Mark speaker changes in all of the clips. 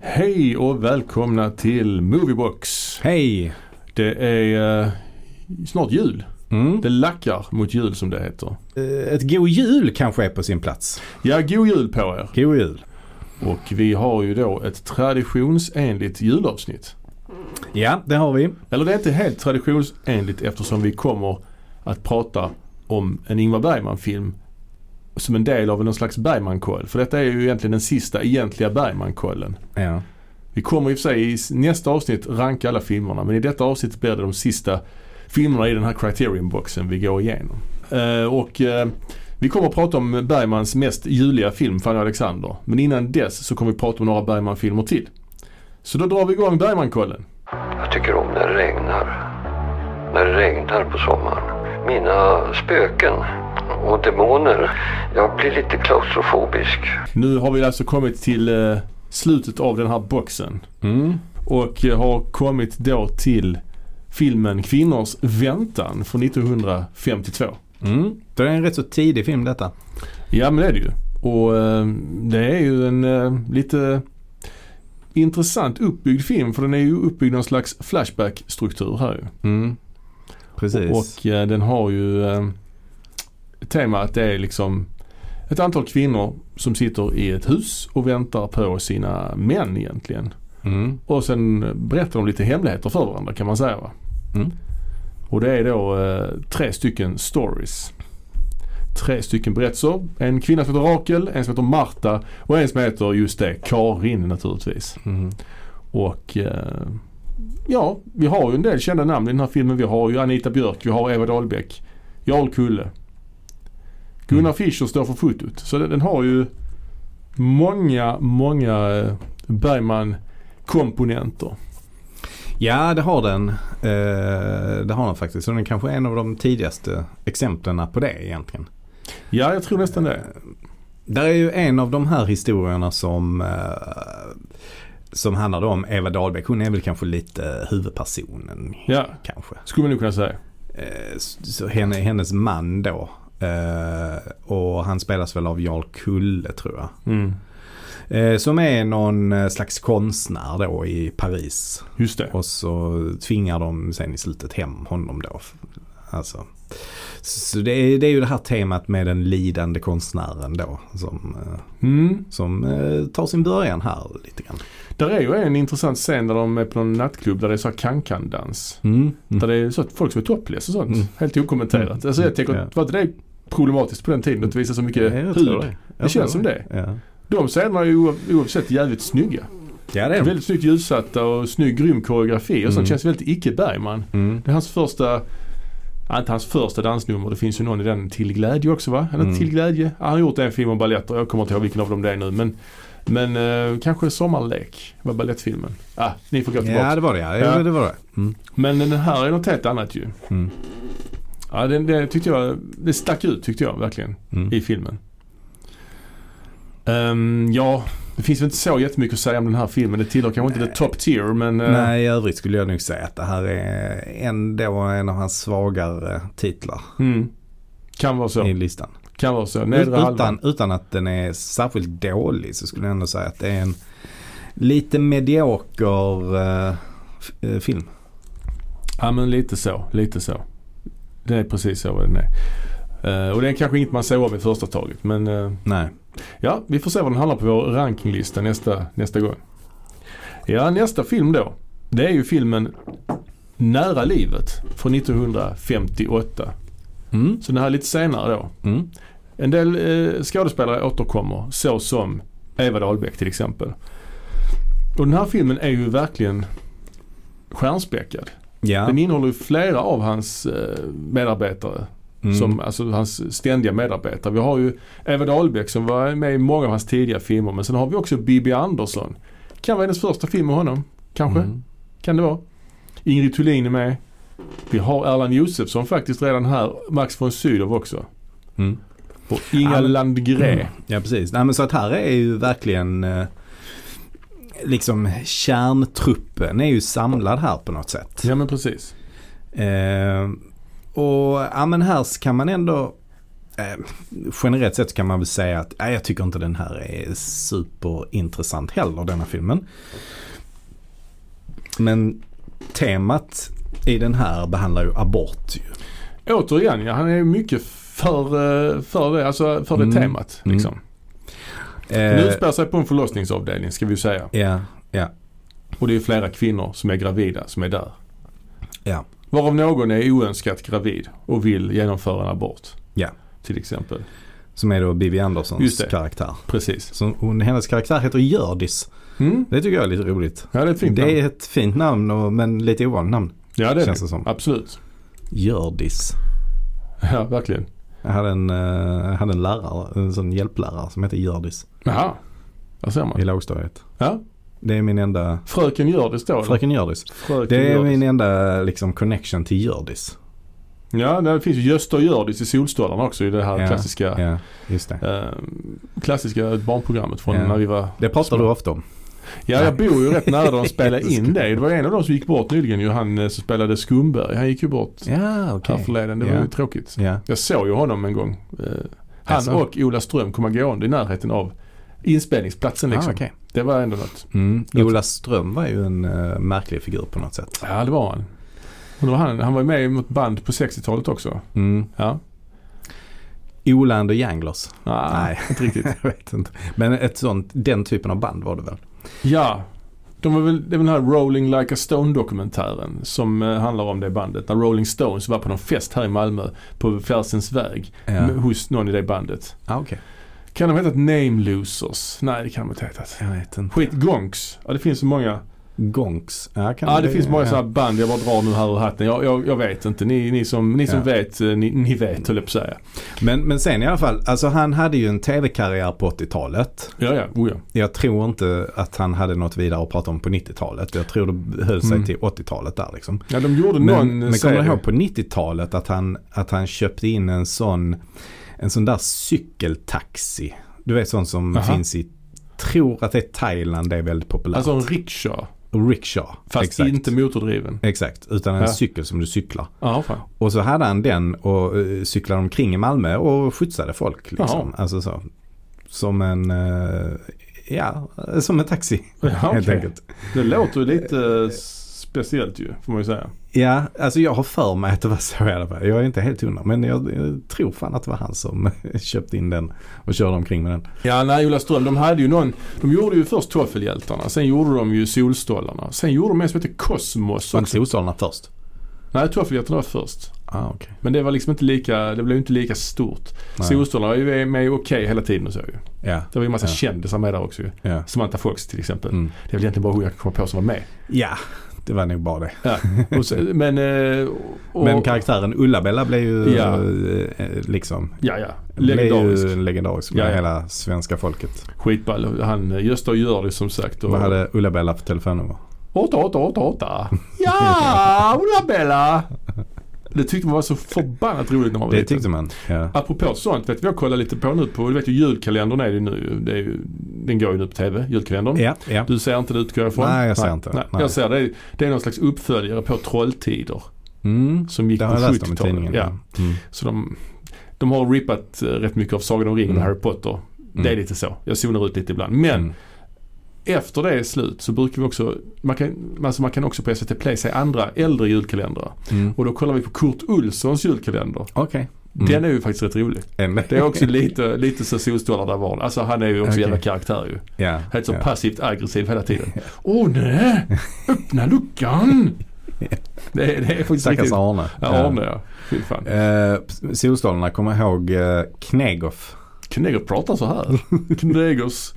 Speaker 1: Hej och välkomna till Moviebox.
Speaker 2: Hej!
Speaker 1: Det är eh, snart jul.
Speaker 2: Mm.
Speaker 1: Det lackar mot jul som det heter.
Speaker 2: Eh, Ett god jul kanske är på sin plats.
Speaker 1: Ja, god jul på er.
Speaker 2: God jul.
Speaker 1: Och vi har ju då ett traditionsenligt julavsnitt.
Speaker 2: Ja, det har vi.
Speaker 1: Eller det är inte helt traditionsenligt eftersom vi kommer att prata om en Ingmar Bergman-film som en del av någon slags Bergman-koll. För detta är ju egentligen den sista egentliga Bergman-kollen.
Speaker 2: Ja.
Speaker 1: Vi kommer i och för sig i s- nästa avsnitt ranka alla filmerna men i detta avsnitt blir det de sista filmerna i den här Criterion-boxen vi går igenom. Eh, och eh, vi kommer att prata om Bergmans mest juliga film, Fanny och Alexander. Men innan dess så kommer vi prata om några Bergman-filmer till. Så då drar vi igång Bergman-kollen.
Speaker 3: Jag tycker om när det regnar. När det regnar på sommaren. Mina spöken och demoner. Jag blir lite klaustrofobisk.
Speaker 1: Nu har vi alltså kommit till eh, slutet av den här boxen.
Speaker 2: Mm.
Speaker 1: Och eh, har kommit då till filmen Kvinnors väntan från 1952.
Speaker 2: Mm. Det är en rätt så tidig film detta.
Speaker 1: Ja men det är det ju. Och eh, det är ju en eh, lite intressant uppbyggd film för den är ju uppbyggd i någon slags flashback-struktur här ju.
Speaker 2: Mm. Precis.
Speaker 1: Och eh, den har ju eh, tema att det är liksom ett antal kvinnor som sitter i ett hus och väntar på sina män egentligen.
Speaker 2: mm.
Speaker 1: Och sen berättar de lite hemligheter för varandra kan man säga va.
Speaker 2: Mm.
Speaker 1: Och det är då eh, tre stycken stories. Tre stycken berättelser. En kvinna som heter Rakel, en som heter Marta och en som heter just det Karin naturligtvis.
Speaker 2: Mm.
Speaker 1: Och eh, ja, vi har ju en del kända namn i den här filmen. Vi har ju Anita Björk, vi har Eva Dahlbeck, Jarl Kulle. Gunnar Fischer står för fotot. Så den, den har ju många, många eh, Bergman-komponenter.
Speaker 2: Ja, det har den. Eh, det har den faktiskt. Så den kanske är en av de tidigaste exemplen på det egentligen. Eh,
Speaker 1: Ja, jag tror nästan det.
Speaker 2: Där är ju en av de här historierna som eh, som handlar om Eva Dahlbeck. Hon är väl kanske lite huvudpersonen
Speaker 1: Ja,
Speaker 2: kanske.
Speaker 1: skulle man nog kunna säga.
Speaker 2: Eh, s- så henne, hennes man då. Eh, och han spelas väl av Jarl Kulle tror jag.
Speaker 1: Mm.
Speaker 2: Eh, som är någon eh, slags konstnär då i Paris.
Speaker 1: Just det.
Speaker 2: Och så tvingar de sen i slutet hem honom då. Alltså. Så det är, det är ju det här temat med den lidande konstnären då. Som, eh,
Speaker 1: Mm.
Speaker 2: som eh, tar sin början här lite grann.
Speaker 1: Där är ju en intressant scen där de är på någon nattklubb där det är så här kan-kan-dans.
Speaker 2: Mm.
Speaker 1: Där det är så att folk som är topless och sånt.
Speaker 2: Mm.
Speaker 1: Helt okommenterat.
Speaker 2: Mm.
Speaker 1: Alltså jag tänker,
Speaker 2: Ja.
Speaker 1: var inte det problematiskt på den tiden att visa så mycket
Speaker 2: Ja, jag tror
Speaker 1: hud?
Speaker 2: Jag
Speaker 1: eh, Det känns
Speaker 2: tror
Speaker 1: som det.
Speaker 2: Ja.
Speaker 1: De scenerna är ju oav- oavsett jävligt snygga.
Speaker 2: ja det är det.
Speaker 1: Väldigt snyggt ljussatta och snygg grym koreografi och sånt.
Speaker 2: Mm.
Speaker 1: Känns väldigt icke-Bergman.
Speaker 2: Mm.
Speaker 1: Det är hans första, ja, inte hans första dansnummer. Det finns ju någon i den Till glädje också va? Eller
Speaker 2: Mm.
Speaker 1: Till glädje? Ja, han har gjort en film om balett och jag kommer inte ihåg vilken av dem det är nu. Men, men eh, kanske Sommarlek var balettfilmen. Ah, ni får gå tillbaka.
Speaker 2: Ja det var det ja.
Speaker 1: Ja.
Speaker 2: ja. Det var det. Mm.
Speaker 1: Men den här är något helt annat ju.
Speaker 2: Mm.
Speaker 1: Ja, det, det tyckte jag, det stack ut tyckte jag verkligen
Speaker 2: Mm.
Speaker 1: i filmen. Ehm, ja, det finns väl inte så jättemycket att säga om den här filmen. Det tillhör kanske inte the top tier men eh,
Speaker 2: Nej, i övrigt skulle jag nog säga att det här är ändå en av hans svagare titlar
Speaker 1: Mm, kan vara så.
Speaker 2: i listan.
Speaker 1: Kan vara så. Nedre halvan.
Speaker 2: Utan, utan att den är särskilt dålig så skulle jag ändå säga att det är en lite medioker eh, f- eh, film.
Speaker 1: Ja men lite så, lite så. Det är precis så vad den är. Eh, och det är kanske inget man såg av i första taget men eh,
Speaker 2: Nej.
Speaker 1: Ja, vi får se vad den handlar på vår rankinglista nästa, nästa gång. Ja, nästa film då. Det är ju filmen Nära livet från 1958.
Speaker 2: Mm.
Speaker 1: Så den här är lite senare då.
Speaker 2: Mm.
Speaker 1: En del eh, skådespelare återkommer så som Eva Dahlbeck till exempel. Och den här filmen är ju verkligen stjärnspäckad.
Speaker 2: Ja.
Speaker 1: Den innehåller ju flera av hans eh, medarbetare
Speaker 2: Mm.
Speaker 1: som, alltså hans ständiga medarbetare. Vi har ju Eva Dahlbeck som var med i många av hans tidiga filmer. Men sen har vi också Bibi Andersson. Kan vara hennes första film med honom. Kanske.
Speaker 2: Mm.
Speaker 1: Kan det vara. Ingrid Thulin är med. Vi har Erland Josefsson faktiskt redan här. Max von Sydow också.
Speaker 2: Mm.
Speaker 1: Och Inga
Speaker 2: Ja, men-
Speaker 1: Landgren.
Speaker 2: Mm. Ja precis. Nej, men så att här är ju verkligen eh, liksom kärntruppen är ju samlad här på något sätt.
Speaker 1: Ja men precis.
Speaker 2: Eh, och ja men här kan man ändå eh, generellt sett kan man väl säga att eh, jag tycker inte den här är superintressant heller, denna filmen. Men temat i den här behandlar ju abort. Ju.
Speaker 1: Återigen, ja, han är mycket för, eh, för det, alltså för det
Speaker 2: Mm.
Speaker 1: temat.
Speaker 2: Mm.
Speaker 1: Liksom. Den
Speaker 2: Eh,
Speaker 1: utspelar sig på en förlossningsavdelning ska vi ju säga.
Speaker 2: ja, ja,
Speaker 1: Och det är flera kvinnor som är gravida som är där.
Speaker 2: ja.
Speaker 1: Varav någon är oönskat gravid och vill genomföra en abort.
Speaker 2: Ja.
Speaker 1: Till exempel.
Speaker 2: Som är då Bibi
Speaker 1: Just
Speaker 2: Anderssons
Speaker 1: det.
Speaker 2: karaktär.
Speaker 1: Precis.
Speaker 2: Som, hon, hennes karaktär heter Hjördis.
Speaker 1: Mm.
Speaker 2: Det tycker jag är lite roligt.
Speaker 1: Ja det är ett fint namn.
Speaker 2: Det är ett fint namn och, men lite ovanligt namn.
Speaker 1: Ja det är
Speaker 2: känns
Speaker 1: det.
Speaker 2: det som.
Speaker 1: Absolut.
Speaker 2: Hjördis.
Speaker 1: Ja verkligen.
Speaker 2: Jag hade en, eh, hade en lärare, en sån hjälplärare som hette Hjördis
Speaker 1: Jaha. Där ser
Speaker 2: i
Speaker 1: man.
Speaker 2: lågstadiet.
Speaker 1: Ja.
Speaker 2: Det är min enda,
Speaker 1: Fröken gör det står det.
Speaker 2: fröken Hjördis.
Speaker 1: Fröken
Speaker 2: Det är
Speaker 1: Hjördis.
Speaker 2: min enda liksom connection till Hjördis.
Speaker 1: Ja det finns ju Gösta Hjördis i Solstolarna också i det här
Speaker 2: Ja,
Speaker 1: klassiska,
Speaker 2: Ja, just det.
Speaker 1: eh, klassiska barnprogrammet från
Speaker 2: Ja.
Speaker 1: när vi var
Speaker 2: Det pratar du ofta om.
Speaker 1: Ja, jag bor ju rätt nära där de spelade in
Speaker 2: Jätteskumt.
Speaker 1: det. Det var en av dem som gick bort nyligen ju. Han eh, som spelade Skumberg. Han gick ju bort
Speaker 2: Ja, okej.
Speaker 1: härförleden. Det var
Speaker 2: Ja.
Speaker 1: ju tråkigt.
Speaker 2: Ja.
Speaker 1: Jag såg ju honom en gång. Eh, Han
Speaker 2: Jaså?
Speaker 1: och Ola Ström komma gående i närheten av inspelningsplatsen liksom.
Speaker 2: Ah, okej.
Speaker 1: Det var ändå något.
Speaker 2: mm. Ola Ström var ju en eh, märklig figur på något sätt.
Speaker 1: Ja, det var han. Och då var han, han var ju med i något band på 60-talet också.
Speaker 2: Mm.
Speaker 1: Ja.
Speaker 2: Ola and the Janglers.
Speaker 1: Ah,
Speaker 2: Nej, inte riktigt. jag vet inte. Men ett sånt, den typen av band var det väl?
Speaker 1: Ja. De var väl, det är väl den här Rolling Like a Stone-dokumentären som eh, handlar om det bandet. När Rolling Stones var på någon fest här i Malmö på Färsens väg
Speaker 2: Ja.
Speaker 1: med, hos någon i det bandet.
Speaker 2: Ah, okej.
Speaker 1: Kan de heta Name Losers? Nej, det kan de inte heta.
Speaker 2: Jag vet inte.
Speaker 1: Skit, Gonks. Ja, det finns så många.
Speaker 2: Gonks. Ja, kan
Speaker 1: Ja, det finns många sådana här band. Jag bara drar nu här ur hatten. Jag, jag, jag vet inte. Ni, ni som, ni som
Speaker 2: Ja.
Speaker 1: vet, eh, ni, ni vet höll jag på att säga.
Speaker 2: Men, men sen i alla fall, alltså han hade ju en tv-karriär på 80-talet.
Speaker 1: Ja, ja. Oh, ja.
Speaker 2: Jag tror inte att han hade något vidare att prata om på 90-talet. Jag tror det höll sig
Speaker 1: Mm.
Speaker 2: till 80-talet där liksom.
Speaker 1: ja de gjorde någon
Speaker 2: Men, men kommer
Speaker 1: serie.
Speaker 2: du ihåg på 90-talet att han, att han köpte in en sån, en sån där cykeltaxi. Du vet sån som
Speaker 1: Aha.
Speaker 2: finns i, tror att det är Thailand, det är väldigt populärt.
Speaker 1: Alltså en rickshaw.
Speaker 2: rickshaw.
Speaker 1: Fast
Speaker 2: exakt.
Speaker 1: inte motordriven.
Speaker 2: Exakt, utan en
Speaker 1: Ja.
Speaker 2: cykel som du cyklar.
Speaker 1: Ja, fan.
Speaker 2: Och så hade han den och eh, cyklade omkring i Malmö och skjutsade folk. Liksom.
Speaker 1: Jaha.
Speaker 2: Alltså så. Som en, eh, ja, som en taxi
Speaker 1: Ja,
Speaker 2: helt
Speaker 1: okej.
Speaker 2: enkelt.
Speaker 1: Det låter ju lite eh, speciellt ju, får man ju säga.
Speaker 2: Ja, alltså jag har för mig att det var så i alla fall. Jag är inte helt hundra men jag, jag tror fan att det var han som köpte in den och körde omkring med den.
Speaker 1: Ja, nej, Ola Ström, de hade ju någon. De gjorde ju först Toffelhjältarna, sen gjorde de ju Solstollarna. Sen gjorde de en som hette Kosmos.
Speaker 2: Var
Speaker 1: Och,
Speaker 2: inte Solstolarna först?
Speaker 1: nej, Toffelhjältarna var först.
Speaker 2: Ah, okay.
Speaker 1: Men det var liksom inte lika, det blev ju inte lika stort.
Speaker 2: Nej.
Speaker 1: Solstollarna är ju med i Okej hela tiden och så ju.
Speaker 2: Ja,
Speaker 1: Det var ju en massa
Speaker 2: Ja.
Speaker 1: kändisar med där också ju.
Speaker 2: ja.
Speaker 1: Samantha Fox till exempel.
Speaker 2: Mm.
Speaker 1: Det är väl egentligen bara hon jag kan komma på som var med.
Speaker 2: ja, det var nog bara det.
Speaker 1: Och så, men... eh, Och,
Speaker 2: Men karaktären Ulla-Bella blev ju
Speaker 1: Ja.
Speaker 2: eh, liksom
Speaker 1: Ja, ja.
Speaker 2: legendarisk.
Speaker 1: Legendarisk.
Speaker 2: Blev ju legendarisk med
Speaker 1: Ja, ja.
Speaker 2: hela svenska folket.
Speaker 1: Skitball. Han eh, Gösta och gör det som sagt. Och,
Speaker 2: Vad hade Ulla-Bella för telefonnummer?
Speaker 1: 8888. Ja, Ulla-Bella! Det tyckte man var så förbannat roligt när man var
Speaker 2: Det
Speaker 1: liten.
Speaker 2: tyckte man. Ja.
Speaker 1: Apropå sånt vet vi jag kollar lite på nu på, du vet ju julkalendern är det ju nu. Det är ju, den går ju nu på TV, julkalendern.
Speaker 2: Ja, ja.
Speaker 1: Du ser inte det utgår jag ifrån?
Speaker 2: Nej, jag ser inte.
Speaker 1: Nej,
Speaker 2: Nej.
Speaker 1: Jag ser det. Det är någon slags uppföljare på Trolltider
Speaker 2: Mm.
Speaker 1: som gick
Speaker 2: Det
Speaker 1: på
Speaker 2: har jag läst om i
Speaker 1: 70-talet.
Speaker 2: tidningen.
Speaker 1: Ja.
Speaker 2: Mm.
Speaker 1: Så de, de har rippat eh, rätt mycket av Sagan om ringen och
Speaker 2: Mm.
Speaker 1: Harry Potter. Det är lite så. Jag zonar ut lite ibland. Men
Speaker 2: Mm.
Speaker 1: efter det är slut så brukar vi också, man kan, alltså man kan också på SVT Play se andra äldre julkalendrar.
Speaker 2: Mm.
Speaker 1: Och då kollar vi på Kurt Olssons julkalender.
Speaker 2: Okej.
Speaker 1: Den är ju faktiskt rätt rolig.
Speaker 2: Mm.
Speaker 1: Det är också lite, lite så solstolar där var. Alltså han är ju också
Speaker 2: Okej.
Speaker 1: jävla karaktär ju.
Speaker 2: ja.
Speaker 1: Helt så
Speaker 2: ja.
Speaker 1: passivt aggressiv hela tiden. Åh nej! Öppna luckan! det, är- det är faktiskt
Speaker 2: Stackars
Speaker 1: riktigt.
Speaker 2: Arne.
Speaker 1: Ja, Arne ja. Fy fan.
Speaker 2: Eh, Solstolarna kommer jag ihåg eh, Knegoff.
Speaker 1: Knegers pratar så här. Knegers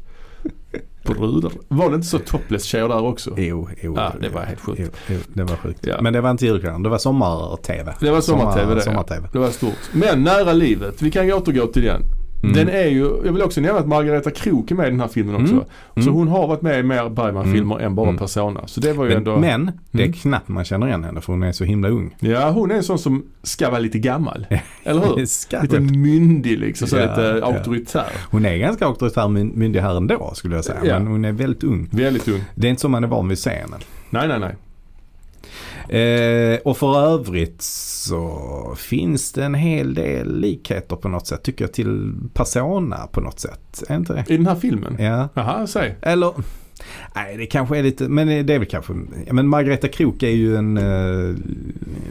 Speaker 1: brudar. Var det inte så topless tjejer där också?
Speaker 2: Jo, jo.
Speaker 1: Ja, det var helt sjukt.
Speaker 2: Jo, jo, det var sjukt.
Speaker 1: Ja.
Speaker 2: Men det var inte julkalender, det var sommar-tv.
Speaker 1: Det var sommar-tv det.
Speaker 2: Sommar-tv.
Speaker 1: Det var stort. Men Nära livet. Vi kan återgå till den.
Speaker 2: Mm.
Speaker 1: Den är ju, jag vill också nämna att Margareta Krook är med i den här filmen också.
Speaker 2: Mm.
Speaker 1: Så
Speaker 2: Mm.
Speaker 1: hon har varit med i mer Bergman-filmer än bara
Speaker 2: Mm.
Speaker 1: Persona. Så det var ju
Speaker 2: Men,
Speaker 1: ändå...
Speaker 2: men det är
Speaker 1: Mm.
Speaker 2: knappt man känner igen henne för hon är så himla ung.
Speaker 1: Ja, hon är en sån som ska vara lite gammal. Eller hur?
Speaker 2: Skatt.
Speaker 1: Lite myndig liksom, så
Speaker 2: Ja,
Speaker 1: lite
Speaker 2: ja.
Speaker 1: auktoritär.
Speaker 2: Hon är ganska auktoritär myn- myndig här ändå skulle jag säga.
Speaker 1: Ja.
Speaker 2: Men hon är väldigt ung.
Speaker 1: Väldigt ung.
Speaker 2: Det är inte som man är van vid scenen.
Speaker 1: Nej, nej, nej.
Speaker 2: Eh, och för övrigt så finns det en hel del likheter på något sätt tycker jag till Persona på något sätt. Är inte det?
Speaker 1: I den här filmen?
Speaker 2: Ja.
Speaker 1: Jaha, säg.
Speaker 2: Eller, nej det kanske är lite, men det är väl kanske, ja, men Margareta Krok är ju en eh,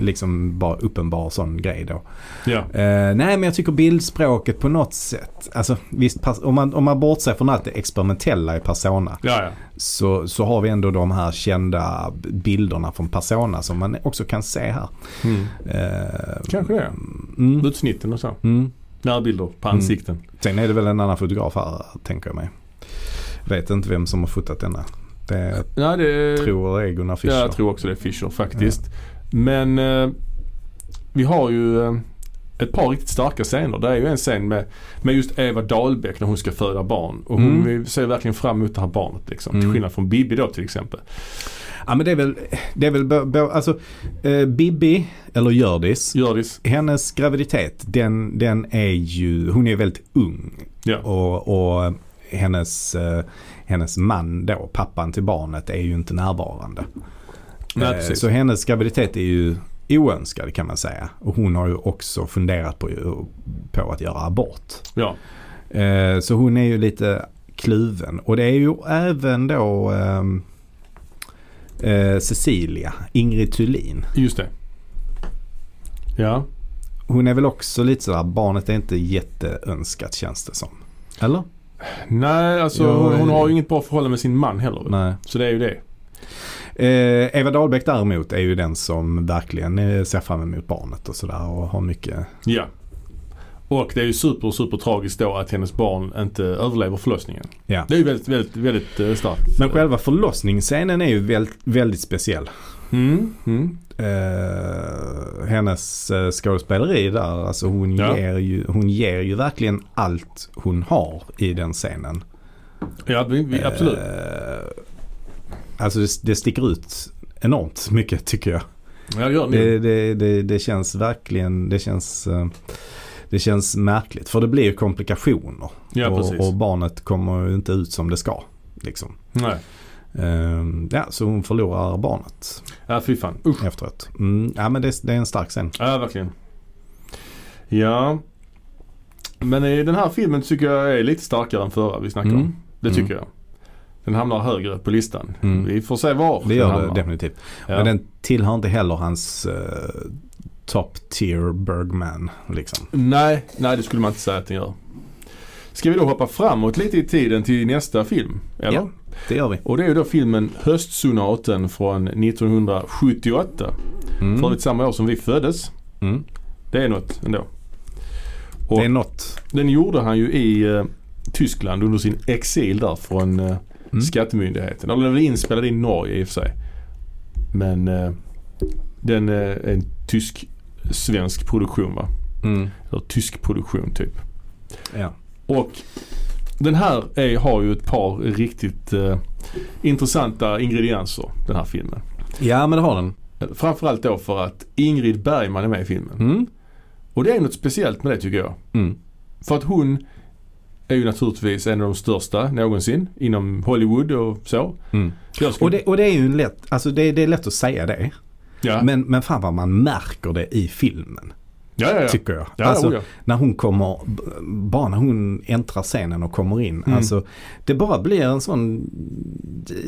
Speaker 2: liksom bara uppenbar sån grej då.
Speaker 1: Ja.
Speaker 2: Eh, nej men jag tycker bildspråket på något sätt, alltså visst pers- om man, om man bortser från allt det experimentella i Persona
Speaker 1: Ja, ja.
Speaker 2: så, så har vi ändå de här kända bilderna från Persona som man också kan se här.
Speaker 1: Mm.
Speaker 2: Eh,
Speaker 1: Kanske det.
Speaker 2: Mm,
Speaker 1: Utsnitten och så. Mm.
Speaker 2: mm.
Speaker 1: Närbilder på ansikten.
Speaker 2: Sen är det väl en annan fotograf här tänker jag mig. Vet inte vem som har fotat denna. Det
Speaker 1: Nej, det...
Speaker 2: tror jag är Gunnar Fischer.
Speaker 1: Eh, Ja, jag tror också det är Fischer faktiskt. Men eh, vi har ju eh, ett par riktigt starka scener. Det är ju en scen med, med just Eva Dahlbeck när hon ska föda barn. Och hon
Speaker 2: Mm.
Speaker 1: vi ser verkligen fram emot det här barnet liksom. Till
Speaker 2: Mm.
Speaker 1: skillnad från Bibi då till exempel.
Speaker 2: Ja men det är väl, det är väl bo, bo, alltså eh, Bibi, eller Hjördis,
Speaker 1: Hjördis.
Speaker 2: hennes graviditet den, den är ju, hon är väldigt ung.
Speaker 1: Ja.
Speaker 2: Och, och hennes, eh, hennes man då, pappan till barnet är ju inte närvarande.
Speaker 1: Nej,
Speaker 2: Eh,
Speaker 1: precis.
Speaker 2: så hennes graviditet är ju oönskad kan man säga. Och hon har ju också funderat på, på att göra abort.
Speaker 1: Ja.
Speaker 2: Eh, Så hon är ju lite kluven. Och det är ju även då ehm, eh, Cecilia, Ingrid Thulin.
Speaker 1: Just det. Ja.
Speaker 2: Hon är väl också lite sådär, barnet är inte jätteönskat känns det som. Eller?
Speaker 1: Nej, alltså
Speaker 2: Ja,
Speaker 1: hon, hon
Speaker 2: eh.
Speaker 1: har ju inget bra förhållande med sin man heller.
Speaker 2: Nej.
Speaker 1: Så det är ju det.
Speaker 2: Eh, Eva Dahlbeck däremot är ju den som verkligen eh, ser fram emot barnet och sådär och har mycket.
Speaker 1: Ja. Och det är ju super, super tragiskt då att hennes barn inte överlever förlossningen.
Speaker 2: Ja.
Speaker 1: Det är ju väldigt, väldigt, väldigt eh, starkt.
Speaker 2: Men själva förlossningsscenen är ju väldigt, väldigt speciell.
Speaker 1: Mm, mm.
Speaker 2: eh, hennes eh, skådespeleri där. Alltså hon,
Speaker 1: Ja.
Speaker 2: ger ju, hon ger ju verkligen allt hon har i den scenen.
Speaker 1: Ja, vi, vi, absolut.
Speaker 2: Eh, alltså det, det sticker ut enormt mycket tycker jag.
Speaker 1: Jag gör det.
Speaker 2: Det, det, det, det känns verkligen, det känns, eh, det känns märkligt. För det blir ju komplikationer.
Speaker 1: Ja, precis.
Speaker 2: och, och barnet kommer ju inte ut som det ska. Liksom.
Speaker 1: Nej.
Speaker 2: Eh, ja, så hon förlorar barnet
Speaker 1: Ja, fy fan. Usch.
Speaker 2: efteråt. Mm, ja, men det, det är en stark scen.
Speaker 1: Ja, verkligen. Ja. Men eh, den här filmen tycker jag är lite starkare än förra vi snackade
Speaker 2: Mm.
Speaker 1: om. Det tycker
Speaker 2: Mm.
Speaker 1: jag. Den hamnar högre på listan.
Speaker 2: Mm.
Speaker 1: Vi får se var
Speaker 2: Det
Speaker 1: den
Speaker 2: gör det
Speaker 1: hamnar.
Speaker 2: definitivt.
Speaker 1: Ja.
Speaker 2: Men den tillhör inte heller hans eh, top tier Bergman. Liksom.
Speaker 1: Nej, nej det skulle man inte säga att den gör. Ska vi då hoppa framåt lite i tiden till nästa film? Eller?
Speaker 2: Ja, det gör vi.
Speaker 1: Och det är ju då filmen Höstsonaten från 1978. För
Speaker 2: Mm.
Speaker 1: övrigt samma år som vi föddes.
Speaker 2: Mm.
Speaker 1: Det är något ändå.
Speaker 2: Det är något.
Speaker 1: Den gjorde han ju i eh, Tyskland under sin exil där från eh,
Speaker 2: Mm.
Speaker 1: skattemyndigheten. Eller den är inspelad i Norge i och för sig. Men eh, den eh, är en tysk-svensk produktion va?
Speaker 2: Mm.
Speaker 1: Eller tysk produktion typ.
Speaker 2: Ja.
Speaker 1: Och den här är, har ju ett par riktigt eh, intressanta ingredienser den här filmen.
Speaker 2: ja, men det har den.
Speaker 1: Framförallt då för att Ingrid Bergman är med i filmen.
Speaker 2: Mm.
Speaker 1: Och det är något speciellt med det tycker jag.
Speaker 2: Mm.
Speaker 1: För att hon är ju naturligtvis en av de största någonsin inom Hollywood och så.
Speaker 2: Mm.
Speaker 1: Jag skulle-
Speaker 2: Och, det, och det är ju en lätt, alltså det, det är lätt att säga det.
Speaker 1: ja.
Speaker 2: Men, men fan vad man märker det i filmen.
Speaker 1: ja, ja, ja.
Speaker 2: Tycker jag.
Speaker 1: Ja,
Speaker 2: alltså,
Speaker 1: oh ja.
Speaker 2: När hon kommer, b- bara när hon äntrar scenen och kommer in.
Speaker 1: Mm.
Speaker 2: Alltså, det bara blir en sån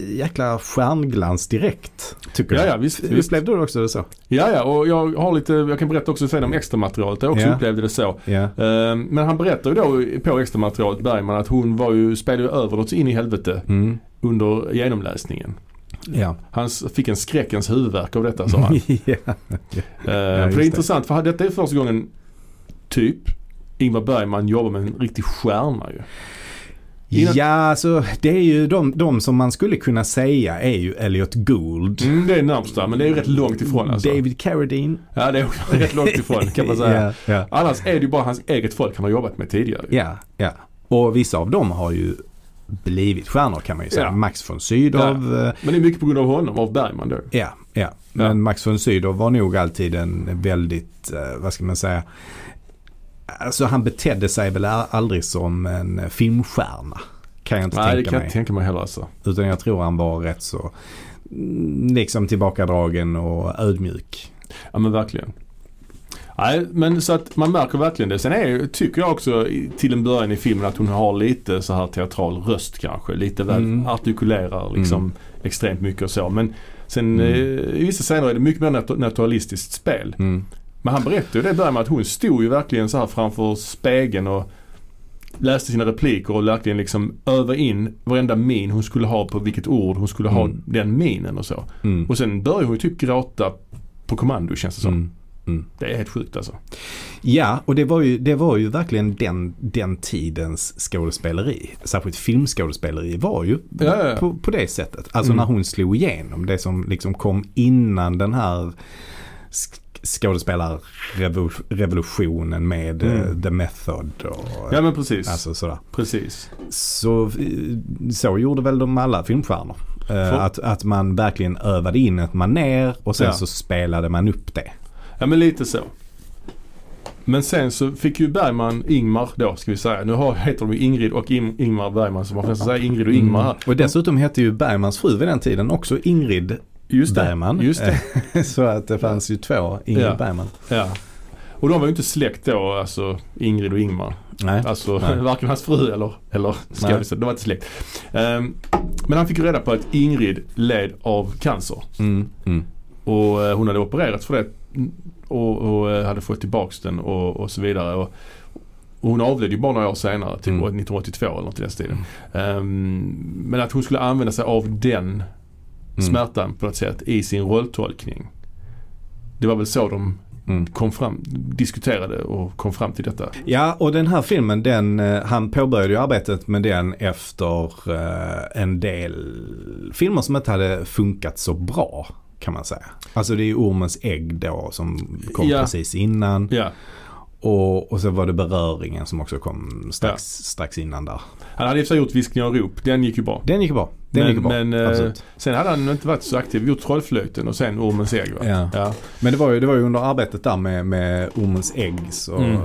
Speaker 2: jäkla stjärnglans direkt. Tycker
Speaker 1: Ja,
Speaker 2: jag.
Speaker 1: ja, visst, visst.
Speaker 2: Upplevde du också det så?
Speaker 1: ja, ja. Och jag har lite, jag kan berätta också sen om extra materialet. Jag också
Speaker 2: Ja.
Speaker 1: upplevde det så.
Speaker 2: Ja.
Speaker 1: Ehm, Men han berättar ju då på extra materialet Bergman att hon var ju, spelade ju över något så in i helvete
Speaker 2: Mm.
Speaker 1: under genomläsningen.
Speaker 2: Ja.
Speaker 1: Han s- fick en skräckens huvudvärk av detta sa han. Eh,
Speaker 2: ja. just
Speaker 1: för det
Speaker 2: det.
Speaker 1: är intressant för detta är första gången typ Ingmar Bergman jobbar med en riktig stjärna ju. Innan-
Speaker 2: ja, alltså det är ju de, de som man skulle kunna säga är ju Elliot Gould.
Speaker 1: Mm, det är närmsta men det är ju rätt långt ifrån alltså.
Speaker 2: David Carradine.
Speaker 1: Ja det är också rätt långt ifrån kan man säga.
Speaker 2: Ja, ja.
Speaker 1: Annars är det ju bara hans eget folk han har jobbat med tidigare. ju.
Speaker 2: ja, ja. Och vissa av dem har ju blivit stjärnor kan man ju säga.
Speaker 1: Ja.
Speaker 2: Max von Sydow. eh,
Speaker 1: Men det är mycket på grund av honom, av Bergman då.
Speaker 2: Ja, ja. Men
Speaker 1: Ja.
Speaker 2: Max von Sydow var nog alltid en väldigt, eh, vad ska man säga, Alltså han betedde sig väl a- aldrig som en filmstjärna. Kan jag inte
Speaker 1: Nej, det
Speaker 2: tänka
Speaker 1: kan jag
Speaker 2: mig.
Speaker 1: inte tänka mig heller alltså.
Speaker 2: Utan jag tror han var rätt så mm, liksom tillbakadragen och ödmjuk.
Speaker 1: Ja men verkligen. Nej men så att man märker verkligen det. Sen är, ju- tycker jag också i- till en början i filmen att hon har lite så här teatral röst kanske. Lite väl
Speaker 2: Mm.
Speaker 1: artikulerar liksom
Speaker 2: Mm.
Speaker 1: extremt mycket och så. Men sen
Speaker 2: Mm.
Speaker 1: eh, i vissa scener är det mycket mer nat- naturalistiskt spel.
Speaker 2: Mm.
Speaker 1: Men han berättade ju det där med att hon stod ju verkligen så här framför spegeln och läste sina repliker och verkligen liksom övade in varenda min hon skulle ha på vilket ord hon skulle ha
Speaker 2: Mm.
Speaker 1: den minen och så.
Speaker 2: Mm.
Speaker 1: Och sen började hon ju typ gråta på kommando känns det som.
Speaker 2: Mm.
Speaker 1: Det är helt sjukt alltså.
Speaker 2: Ja, och det var ju, det var ju verkligen den, den tidens skådespeleri. Särskilt filmskådespeleri var ju
Speaker 1: Ja, ja, ja.
Speaker 2: På, på det sättet. Alltså
Speaker 1: Mm.
Speaker 2: när hon slog igenom. Det som liksom kom innan den här sk- skådespelarrevolutionen med
Speaker 1: Mm.
Speaker 2: eh, The Method och
Speaker 1: Ja men precis.
Speaker 2: alltså sådär.
Speaker 1: Precis.
Speaker 2: Så, eh, så gjorde väl de alla filmstjärnor. Eh,
Speaker 1: Så.
Speaker 2: Att, att man verkligen övade in ett manér och sen
Speaker 1: Ja.
Speaker 2: så spelade man upp det.
Speaker 1: Ja men lite så. Men sen så fick ju Bergman Ingmar då ska vi säga. Nu har, heter de ju Ingrid och Im- Ingmar Bergman så man får nästan säga Ingrid och Ingmar här.
Speaker 2: Och dessutom hette ju Bergmans fru vid den tiden också Ingrid
Speaker 1: Just det.
Speaker 2: Bergman.
Speaker 1: Just det.
Speaker 2: så att det fanns ju två Ingrid
Speaker 1: Ja.
Speaker 2: Bergman.
Speaker 1: Ja. Och de var ju inte släkt då, alltså Ingrid och Ingmar.
Speaker 2: Nej.
Speaker 1: Alltså
Speaker 2: Nej.
Speaker 1: varken hans fru eller, eller skådisen. De var inte släkt. Ehm, men han fick ju reda på att Ingrid led av cancer.
Speaker 2: Mm. Mm.
Speaker 1: Och eh, hon hade opererats för det och, och eh, hade fått tillbaks den och, och så vidare. Och, och hon avled ju bara några år senare, typ
Speaker 2: Mm.
Speaker 1: 1982 eller något i den stilen. Ehm, men att hon skulle använda sig av den
Speaker 2: Mm.
Speaker 1: smärtan på något sätt i sin rolltolkning. Det var väl så de
Speaker 2: Mm.
Speaker 1: kom fram, diskuterade och kom fram till detta.
Speaker 2: Ja, och den här filmen, den, eh, han påbörjade ju arbetet med den efter eh, en del filmer som inte hade funkat så bra kan man säga. Alltså det är ju Ormens ägg då som kom
Speaker 1: Ja.
Speaker 2: precis innan.
Speaker 1: Ja.
Speaker 2: Och, och så var det Beröringen som också kom strax, strax innan där.
Speaker 1: Han hade i och för sig gjort Viskningar och rop, den gick ju bra.
Speaker 2: Den gick ju bra. Den
Speaker 1: Men-
Speaker 2: gick ju bra.
Speaker 1: men, eh,
Speaker 2: Absolut.
Speaker 1: Sen hade han inte varit så aktiv, gjort Trollflöjten och sen Ormens ägg. va?
Speaker 2: Ja.
Speaker 1: Ja.
Speaker 2: Men det var ju, det var ju under arbetet där med, med Ormens ägg. Så,
Speaker 1: Mm.
Speaker 2: eh,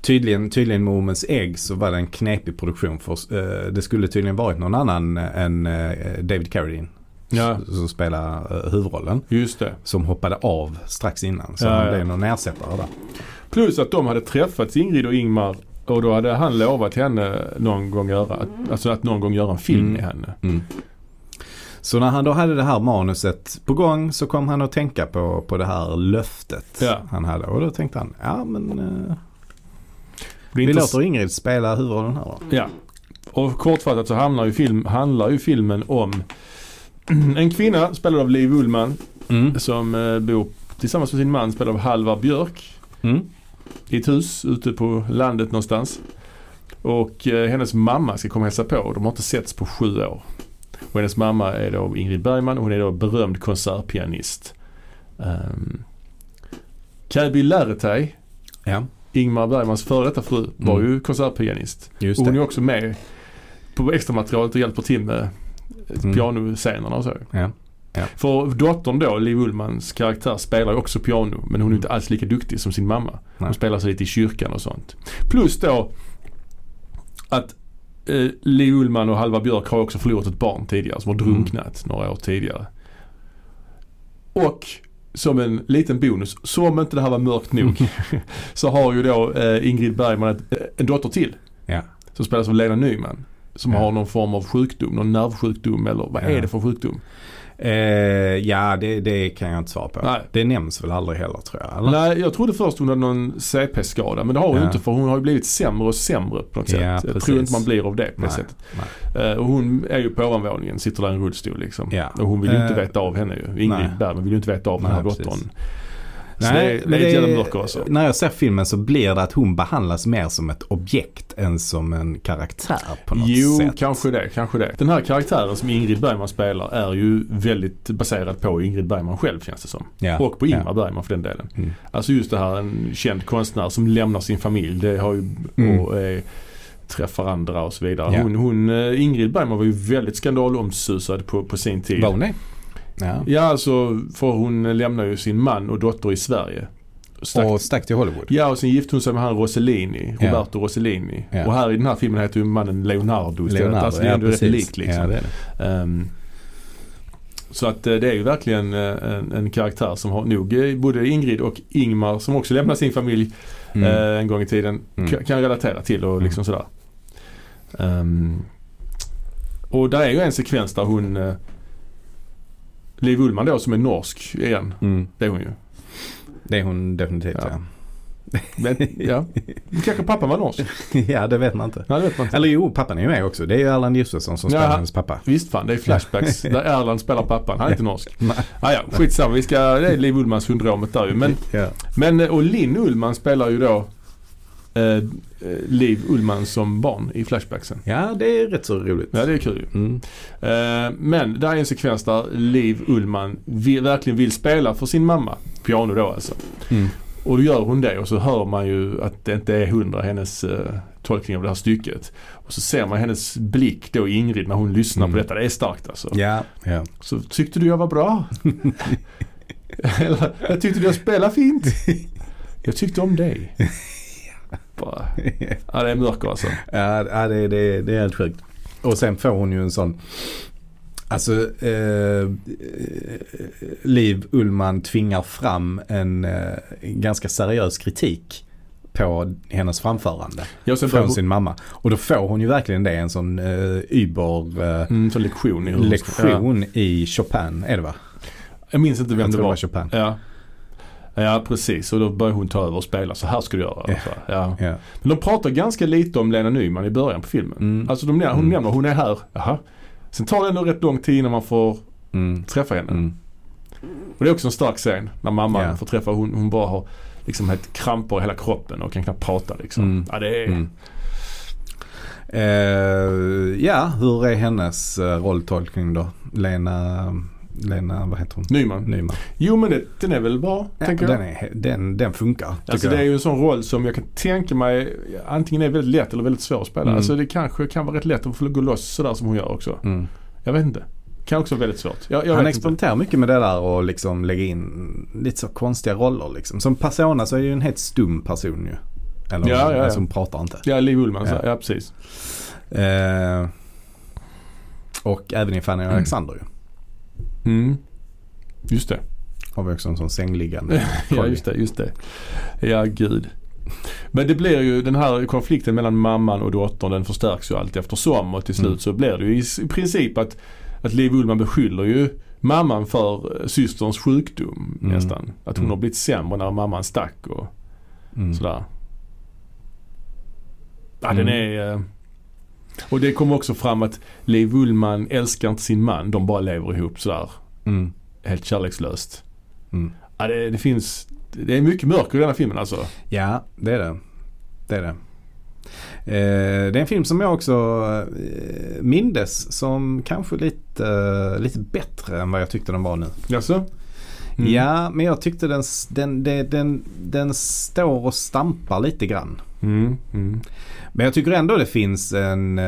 Speaker 2: tydligen, tydligen med Ormens ägg så var det en knepig produktion. För, eh, det skulle tydligen varit någon annan än eh, David Carradine
Speaker 1: Ja.
Speaker 2: s- som spelade eh, huvudrollen.
Speaker 1: Just det.
Speaker 2: Som hoppade av strax innan. Så
Speaker 1: Ja,
Speaker 2: han
Speaker 1: ja.
Speaker 2: blev någon ersättare där.
Speaker 1: Plus att de hade träffats Ingrid och Ingmar och då hade han lovat henne någon gång göra, att- alltså att någon gång göra en film
Speaker 2: Mm.
Speaker 1: med henne.
Speaker 2: Så när han då hade det här manuset på gång så kom han att tänka på, på det här löftet
Speaker 1: Ja.
Speaker 2: han hade. Och då tänkte han, ja men eh,
Speaker 1: Det är
Speaker 2: vi
Speaker 1: intress-
Speaker 2: låter Ingrid spela huvudrollen här då.
Speaker 1: Ja. Och kortfattat så hamnar ju film, handlar ju filmen om en kvinna spelad av Liv Ullman som eh, bor tillsammans med sin man spelad av Halvar Björk
Speaker 2: Mm.
Speaker 1: i ett hus ute på landet någonstans. Och eh, hennes mamma ska komma och hälsa på. De har inte setts på sju år. Och hennes mamma är då Ingrid Bergman och hon är då berömd konsertpianist. Um, Käbi Lärtej,
Speaker 2: Ja,
Speaker 1: Ingmar Bergmans före detta fru, var
Speaker 2: Mm.
Speaker 1: ju konsertpianist.
Speaker 2: just
Speaker 1: Och hon är
Speaker 2: det.
Speaker 1: också med på extramaterialet och hjälper till med
Speaker 2: Mm.
Speaker 1: mm. pianoscenerna och så.
Speaker 2: Ja. Ja.
Speaker 1: För dottern då, Liv Ullmans karaktär, spelar ju också piano men hon är inte alls lika duktig som sin mamma.
Speaker 2: Mm. Nej.
Speaker 1: Hon spelar sig lite i kyrkan och sånt. Plus då att eh, Liv Ullman och Halvar Björk har också förlorat ett barn tidigare som har
Speaker 2: Mm.
Speaker 1: drunknat några år tidigare. Och som en liten bonus, som inte det här var mörkt nog, så har ju då eh, Ingrid Bergman ett, eh, en dotter till.
Speaker 2: Ja.
Speaker 1: Som spelas av Lena Nyman. Som
Speaker 2: Ja.
Speaker 1: har någon form av sjukdom, någon nervsjukdom eller vad
Speaker 2: Ja.
Speaker 1: är det för sjukdom?
Speaker 2: Eh, ja, det, det kan jag inte svara på.
Speaker 1: Nej.
Speaker 2: Det nämns väl aldrig heller tror jag. Eller?
Speaker 1: Nej, jag trodde först hon hade någon CP-skada. Men det har hon
Speaker 2: Ja.
Speaker 1: ju inte för hon har ju blivit sämre och sämre på något
Speaker 2: Ja,
Speaker 1: sätt. Jag
Speaker 2: precis.
Speaker 1: tror inte man blir av det på
Speaker 2: Nej,
Speaker 1: det sättet.
Speaker 2: nej.
Speaker 1: Eh, Och hon är ju på ovanvåningen, sitter där i en rullstol liksom.
Speaker 2: Ja.
Speaker 1: Och hon vill ju inte
Speaker 2: Eh,
Speaker 1: veta av henne ju. Ingrid
Speaker 2: nej.
Speaker 1: Bergman vill ju inte veta av den
Speaker 2: Nej,
Speaker 1: här
Speaker 2: precis.
Speaker 1: dottern. Så
Speaker 2: Nej,
Speaker 1: det,
Speaker 2: men
Speaker 1: det är ett
Speaker 2: det-
Speaker 1: jävla mörker alltså.
Speaker 2: När jag ser filmen så blir det att hon behandlas mer som ett objekt än som en karaktär på något
Speaker 1: Jo,
Speaker 2: sätt.
Speaker 1: kanske det, kanske det. Den här karaktären som Ingrid Bergman spelar är ju väldigt baserad på Ingrid Bergman själv känns det som.
Speaker 2: Ja,
Speaker 1: Och på Ingmar
Speaker 2: ja.
Speaker 1: Bergman för den delen.
Speaker 2: Mm.
Speaker 1: Alltså just det här en känd konstnär som lämnar sin familj. Det har ju,
Speaker 2: Mm.
Speaker 1: och eh, träffar andra och så vidare.
Speaker 2: Ja.
Speaker 1: Hon, hon, eh, Ingrid Bergman var ju väldigt skandalomsusad på, på sin tid.
Speaker 2: Var hon det? Ja.
Speaker 1: Ja alltså för hon lämnar ju sin man och dotter i Sverige. stack
Speaker 2: Och stack till Hollywood.
Speaker 1: Ja och sen gifte hon sig med han Rossellini,
Speaker 2: Ja.
Speaker 1: Roberto Rossellini.
Speaker 2: Ja.
Speaker 1: Och här i den här filmen heter ju mannen Leonardo istället.
Speaker 2: Leonardo,
Speaker 1: alltså det är
Speaker 2: ja,
Speaker 1: ändå rätt
Speaker 2: precis.
Speaker 1: likt liksom.
Speaker 2: Ja, det är det.
Speaker 1: Ehm, så att eh, det är ju verkligen eh, en, en karaktär som har nog eh, både Ingrid och Ingmar som också lämnar sin familj
Speaker 2: Mm.
Speaker 1: eh, en gång i tiden
Speaker 2: Mm.
Speaker 1: ka- kan relatera till och
Speaker 2: Mm.
Speaker 1: liksom sådär. Ehm, och där är ju en sekvens där hon eh, Liv Ullman då som är norsk igen.
Speaker 2: Mm.
Speaker 1: Det är hon ju.
Speaker 2: Det är hon definitivt
Speaker 1: Ja.
Speaker 2: ja.
Speaker 1: Men, ja. Kanske pappan var norsk.
Speaker 2: Ja, det vet man inte.
Speaker 1: Nej, det vet man inte.
Speaker 2: Eller jo, pappan är ju med också. Det är ju Erland Josefsson som spelar
Speaker 1: Ja.
Speaker 2: hennes pappa.
Speaker 1: Visst fan, det är flashbacks där Erland spelar pappan. Han är inte norsk.
Speaker 2: Nej.
Speaker 1: Ah, ja, skitsamma. Vi ska, det är Liv Ullman-syndromet där ju. Men,
Speaker 2: Ja.
Speaker 1: men, eh, och Linn Ullman spelar ju då eh, eh, Liv Ullman som barn i flashbacksen.
Speaker 2: ja, det är rätt så roligt.
Speaker 1: Ja, det är kul ju.
Speaker 2: Mm.
Speaker 1: Eh, men där är en sekvens där Liv Ullman vill, verkligen vill spela för sin mamma. Piano då alltså.
Speaker 2: Mm.
Speaker 1: Och då gör hon det och så hör man ju att det inte är hundra hennes eh, tolkning av det här stycket. Och så ser man hennes blick då Ingrid när hon lyssnar
Speaker 2: Mm.
Speaker 1: på detta. Det är starkt alltså.
Speaker 2: Ja, ja.
Speaker 1: Så tyckte du jag var bra? Eller, jag tyckte du jag spelade fint. Jag tyckte om dig. Bara. Ja, det är mörker alltså.
Speaker 2: Ja, ja det, det, det är helt sjukt. Och sen får hon ju en sån... Alltså, eh, eh, Liv Ullman tvingar fram en eh, ganska seriös kritik på hennes framförande
Speaker 1: Jag ser
Speaker 2: från
Speaker 1: fram
Speaker 2: sin mamma. Och då får hon ju verkligen det, en sån eh, über eh,
Speaker 1: mm, som lektion i hur- Ja.
Speaker 2: lektion i Chopin, är det va?
Speaker 1: Jag minns inte vem
Speaker 2: Jag
Speaker 1: det
Speaker 2: tror det var
Speaker 1: var.
Speaker 2: Chopin.
Speaker 1: Ja. ja, precis. Och då börjar hon ta över och spela. Så här ska du göra.
Speaker 2: Ja.
Speaker 1: Så, Ja.
Speaker 2: Ja.
Speaker 1: Men de pratar ganska lite om Lena Nyman i början på filmen.
Speaker 2: Mm.
Speaker 1: Alltså de, nämner- hon
Speaker 2: Mm.
Speaker 1: nämner, hon är här. Jaha. Sen tar det ändå rätt lång tid innan man får
Speaker 2: Mm.
Speaker 1: träffa henne.
Speaker 2: Mm.
Speaker 1: Och det är också en stark scen när mamman
Speaker 2: Ja.
Speaker 1: får träffa, hon, hon bara har liksom helt kramper i hela kroppen och kan knappt prata liksom.
Speaker 2: Mm.
Speaker 1: Ja, det är,
Speaker 2: Mm. Eh, ja, hur är hennes eh, rolltolkning då? Lena, Lena, vad heter hon?
Speaker 1: Nyman.
Speaker 2: Nyman.
Speaker 1: Jo men det, den är väl bra,
Speaker 2: Ja,
Speaker 1: tänker
Speaker 2: den,
Speaker 1: jag.
Speaker 2: är, den, den funkar.
Speaker 1: Alltså
Speaker 2: tycker
Speaker 1: det är
Speaker 2: jag.
Speaker 1: ju en sån roll som jag kan tänka mig antingen är väldigt lätt eller väldigt svår att spela.
Speaker 2: Mm.
Speaker 1: Alltså det kanske kan vara rätt lätt att få gå loss sådär som hon gör också.
Speaker 2: Mm.
Speaker 1: Jag vet inte. Kan också vara väldigt svårt. Jag, jag
Speaker 2: Han
Speaker 1: vet inte.
Speaker 2: experimenterar mycket med det där och liksom lägger in lite så konstiga roller liksom. Som persona så är ju en helt stum person ju. Eller
Speaker 1: Ja, ja, ja.
Speaker 2: som pratar inte.
Speaker 1: Ja, Liv Ullman. Ja.
Speaker 2: Ja.
Speaker 1: ja, precis.
Speaker 2: Eh, och även i Fanny och Alexander ju.
Speaker 1: Mm. Just det.
Speaker 2: Har vi också en sån sängliggande.
Speaker 1: Ja, just det, just det. Ja, gud. Men det blir ju den här konflikten mellan mamman och dottern den förstärks ju allt eftersom och till slut
Speaker 2: Mm.
Speaker 1: så blir det ju i s- i princip att, att Liv Ullman beskyller ju mamman för eh, systerns sjukdom
Speaker 2: Mm.
Speaker 1: nästan. Att hon
Speaker 2: Mm.
Speaker 1: har blivit sämre när mamman stack och
Speaker 2: Mm.
Speaker 1: sådär. Ja,
Speaker 2: Mm.
Speaker 1: den är... eh, Och det kommer också fram att Liv Ullman älskar inte sin man. De bara lever ihop sådär
Speaker 2: Mm.
Speaker 1: helt kärlekslöst.
Speaker 2: Mm.
Speaker 1: Ja, det, det finns... Det är mycket mörker i den här filmen alltså.
Speaker 2: Ja, det är det. Det är det. Eh, det är en film som jag också eh, mindes som kanske lite, eh, lite bättre än vad jag tyckte den var nu.
Speaker 1: Jaså? Mm.
Speaker 2: Ja, men jag tyckte den, s- den, den, den, den står och stampar lite grann.
Speaker 1: Mm, mm.
Speaker 2: Men jag tycker ändå det finns en, eh,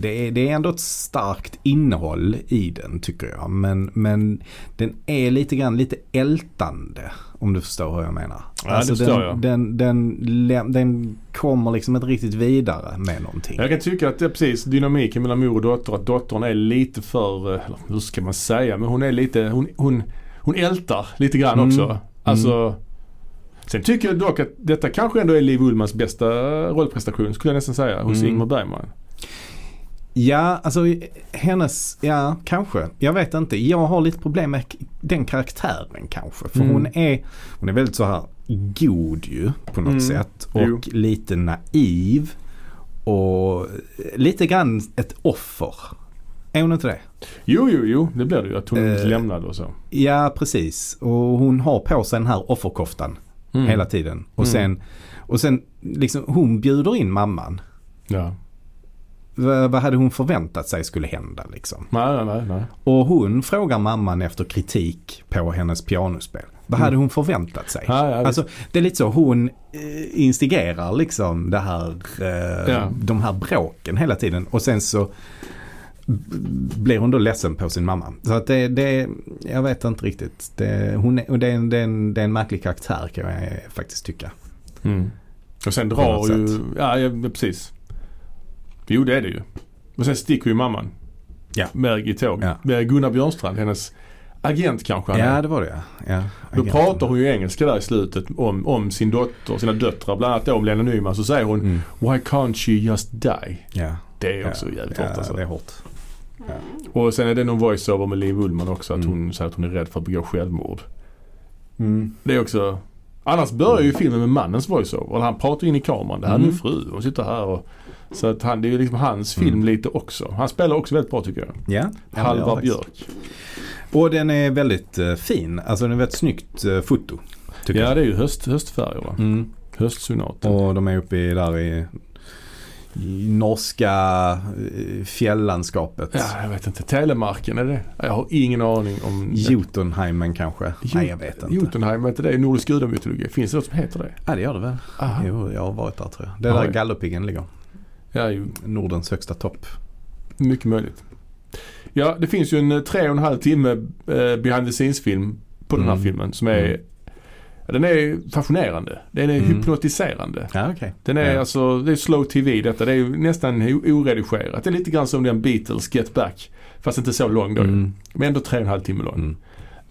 Speaker 2: det är, det är ändå ett starkt innehåll i den tycker jag. Men, men den är lite grann lite ältande om du förstår hur jag menar. Alltså,
Speaker 1: Ja, det förstår
Speaker 2: den,
Speaker 1: jag.
Speaker 2: Den, den, lä- den kommer liksom inte riktigt vidare med någonting.
Speaker 1: Jag kan tycka att det är precis dynamiken mellan mor och dotter. Att dottern är lite för, eh, eller hur ska man säga, men hon är lite, hon, hon, hon ältar lite grann
Speaker 2: Mm.
Speaker 1: också. Alltså, Sen tycker jag dock att detta kanske ändå är Liv Ullmans bästa rollprestation skulle jag nästan säga hos
Speaker 2: Mm.
Speaker 1: Ingmar Bergman.
Speaker 2: Ja, alltså eh, hennes, ja kanske. Jag vet inte. Jag har lite problem med k- den karaktären kanske. För
Speaker 1: Mm.
Speaker 2: hon, är, hon är väldigt så här god ju på något
Speaker 1: Mm.
Speaker 2: sätt. Och
Speaker 1: Jo.
Speaker 2: lite naiv. Och lite grann ett offer. Är hon inte det?
Speaker 1: Jo, jo, jo, det blir det ju. Att hon
Speaker 2: Eh.
Speaker 1: lämnade och så.
Speaker 2: Ja, precis. Och hon har på sig den här offerkoftan
Speaker 1: Mm.
Speaker 2: hela tiden. Och
Speaker 1: Mm.
Speaker 2: sen, och sen liksom, hon bjuder in mamman.
Speaker 1: Ja.
Speaker 2: V- vad hade hon förväntat sig skulle hända liksom?
Speaker 1: Nej, nej, nej. nej.
Speaker 2: Och hon frågar mamman efter kritik på hennes pianospel. Vad hade hon förväntat sig?
Speaker 1: Mm. Ja, ja, visst.
Speaker 2: alltså, det är lite så, hon eh, instigerar liksom det här, eh,
Speaker 1: Ja.
Speaker 2: de här bråken hela tiden. Och sen så blir hon då ledsen på sin mamma. Så att det, det jag vet inte riktigt. Det, hon är, och det, är en, det, är en, det är en märklig karaktär kan jag faktiskt tycka.
Speaker 1: Mm. Och sen
Speaker 2: På något
Speaker 1: drar ju...
Speaker 2: sätt.
Speaker 1: Ja, ja, precis. Jo, det är det ju. Och sen sticker ju mamman.
Speaker 2: Ja.
Speaker 1: Med i tåg.
Speaker 2: Ja.
Speaker 1: Med Gunnar Björnstrand, hennes agent kanske han är.
Speaker 2: Ja det var det ja. ja
Speaker 1: Då
Speaker 2: agenten.
Speaker 1: pratar hon ju engelska där i slutet om, om sin dotter, sina döttrar, bland annat då om Lena Nyman. Så säger hon
Speaker 2: Mm.
Speaker 1: “Why can't she just die?”
Speaker 2: Ja.
Speaker 1: Det är också
Speaker 2: ja.
Speaker 1: jävligt
Speaker 2: ja,
Speaker 1: hårt alltså.
Speaker 2: det är hårt.
Speaker 1: Och sen är det någon voiceover med Liv Ullman också. Att
Speaker 2: Mm.
Speaker 1: hon säger att hon är rädd för att begå självmord. Det är också... Annars börjar ju filmen med mannens voiceover. Och han pratar in i kameran. Det här är min
Speaker 2: Mm.
Speaker 1: fru. Hon sitter här och... Så att han, det är ju liksom hans film
Speaker 2: Mm.
Speaker 1: lite också. Han spelar också väldigt bra tycker jag.
Speaker 2: Ja. Ja, det är
Speaker 1: Halvar
Speaker 2: faktiskt.
Speaker 1: Björk.
Speaker 2: Och den är väldigt eh, fin. Alltså den är väldigt snyggt eh, foto. Tycker
Speaker 1: Ja
Speaker 2: jag.
Speaker 1: det är ju höst, höstfärger va.
Speaker 2: Mm.
Speaker 1: Höstsonaten.
Speaker 2: Och de är uppe i, där i, i norska eh, fjällandskapet.
Speaker 1: Ja jag vet inte. Telemarken är det Jag har ingen aning om...
Speaker 2: Jotunheimen kanske?
Speaker 1: Jo-
Speaker 2: Nej jag vet inte.
Speaker 1: Jotunheim, är inte det nordisk gudamytologi? Finns det något som heter det?
Speaker 2: Ja det gör det väl.
Speaker 1: Aha.
Speaker 2: Jo, jag har varit där tror jag. Det är
Speaker 1: Ja,
Speaker 2: där
Speaker 1: ja.
Speaker 2: Gallupiggen ligger.
Speaker 1: Ja, ju
Speaker 2: Nordens högsta topp.
Speaker 1: Mycket möjligt. Ja, det finns ju en eh, tre och en halv timme eh, behind the scenes-film på den här
Speaker 2: Mm.
Speaker 1: filmen som är
Speaker 2: Mm.
Speaker 1: Den är fascinerande. Den är
Speaker 2: Mm.
Speaker 1: hypnotiserande.
Speaker 2: Ja okej.
Speaker 1: Den är
Speaker 2: Ja.
Speaker 1: alltså, det är slow TV detta. Det är ju nästan o- oredigerat. Det är lite grann som den Beatles Get Back. Fast inte så lång då ju.
Speaker 2: Mm.
Speaker 1: Men ändå tre och en halv timme lång.
Speaker 2: Mm.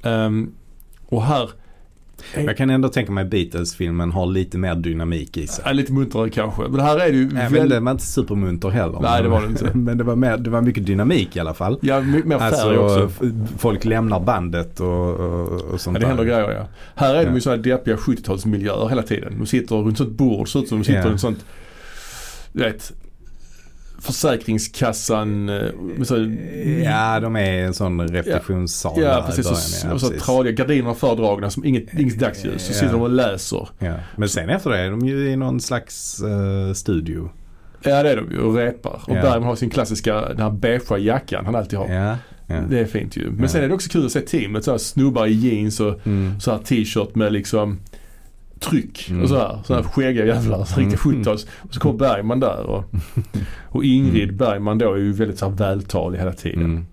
Speaker 1: Ehm, och här,
Speaker 2: Jag kan ändå tänka mig Beatles-filmen har lite mer dynamik i sig.
Speaker 1: är lite muntrare kanske. Men här är det ju
Speaker 2: Även den var inte supermunter heller.
Speaker 1: Nej, det var det inte.
Speaker 2: Men det var, mer, det var mycket dynamik i alla fall.
Speaker 1: Ja, my- mer färg
Speaker 2: Alltså,
Speaker 1: också.
Speaker 2: f- folk lämnar bandet och, och, och sånt
Speaker 1: Ja, det händer
Speaker 2: där.
Speaker 1: grejer ja. Här är de
Speaker 2: Ja.
Speaker 1: ju sådana deppiga 70-talsmiljöer hela tiden. De sitter runt sånt bord, så ut som de sitter
Speaker 2: Ja.
Speaker 1: runt sånt, du vet, Försäkringskassan, eh, med så,
Speaker 2: Ja, de är i en sån repetitionssal.
Speaker 1: ja
Speaker 2: där i
Speaker 1: precis,
Speaker 2: början,
Speaker 1: och,
Speaker 2: ja,
Speaker 1: och så
Speaker 2: precis.
Speaker 1: tradiga gardinerna fördragna som inget, inget dagsljus. Så
Speaker 2: Ja.
Speaker 1: sitter de och läser.
Speaker 2: Ja. Men sen efter det är de ju i någon slags eh, studio.
Speaker 1: Ja det är de ju och repar. Och
Speaker 2: Ja.
Speaker 1: Bergman har sin klassiska, den här beigea jackan han alltid har.
Speaker 2: Ja. ja.
Speaker 1: Det är fint ju. Men
Speaker 2: Ja.
Speaker 1: sen är det också kul att se teamet så här snubbar i jeans och
Speaker 2: Mm.
Speaker 1: så här t-shirt med liksom tryck
Speaker 2: Mm.
Speaker 1: och så här. Sådana här skäggiga jävlar, så riktigt 70-tals. Och så kommer Bergman där och, och Ingrid Bergman då är ju väldigt så här vältalig hela tiden.
Speaker 2: Mm.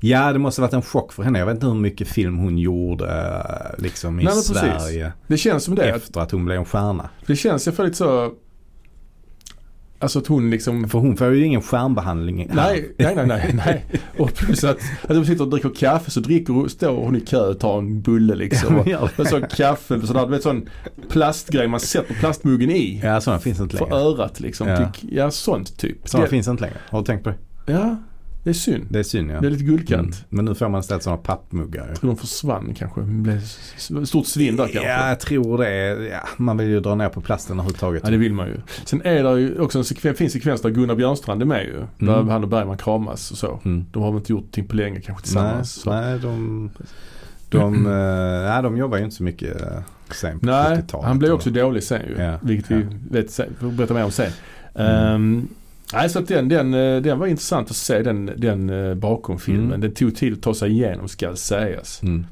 Speaker 2: Ja, det måste ha varit en chock för henne. Jag vet inte hur mycket film hon gjorde eh, liksom i
Speaker 1: Nej, men precis.
Speaker 2: Sverige
Speaker 1: Det känns som det. Att,
Speaker 2: efter att hon blev en stjärna.
Speaker 1: det känns jag för lite så... Alltså att hon liksom...
Speaker 2: För hon får ju ingen stjärnbehandling. här.
Speaker 1: Nej, nej, nej, nej, nej. Och plus att, att de sitter och dricker kaffe så dricker, står hon i kö och tar en bulle liksom. Och,
Speaker 2: Ja,
Speaker 1: och så kaffe, sån där, du vet sån plastgrej man sätter plastmuggen i.
Speaker 2: Ja, sådana finns inte
Speaker 1: För
Speaker 2: längre.
Speaker 1: örat liksom.
Speaker 2: Ja.
Speaker 1: Ja, ja sånt typ.
Speaker 2: Sådana
Speaker 1: Det,
Speaker 2: finns inte längre. Har du tänkt på det?
Speaker 1: ja, det är synd.
Speaker 2: Det är synd ja.
Speaker 1: Det är lite guldkant.
Speaker 2: Mm. Men nu får man istället sådana pappmuggar. ju.
Speaker 1: Jag tror de försvann kanske. Det blev s- s- stort svinn där kanske.
Speaker 2: Ja, jag tror det. Ja, man vill ju dra ner på plasten överhuvudtaget.
Speaker 1: Ja det vill man ju. Sen är det ju också en sekven, fin sekvens där Gunnar Björnstrand är med ju. Där
Speaker 2: Mm.
Speaker 1: han och Bergman kramas och så.
Speaker 2: Mm.
Speaker 1: De har väl inte gjort någonting på länge kanske
Speaker 2: Nej,
Speaker 1: tillsammans. så. Mm.
Speaker 2: nej, de, de, eh, nej, de jobbar ju inte så mycket eh, sen på
Speaker 1: Nej,
Speaker 2: 70-talet.
Speaker 1: han blev också dålig sen ju.
Speaker 2: Ja,
Speaker 1: Vilket
Speaker 2: ja.
Speaker 1: vi vet, sen- får berätta mer om sen.
Speaker 2: Mm.
Speaker 1: Ehm, nej så att den, den, eh, den var intressant att se den, den eh, bakom filmen.
Speaker 2: Mm.
Speaker 1: Den tog tid att ta sig igenom ska sägas.
Speaker 2: Mm.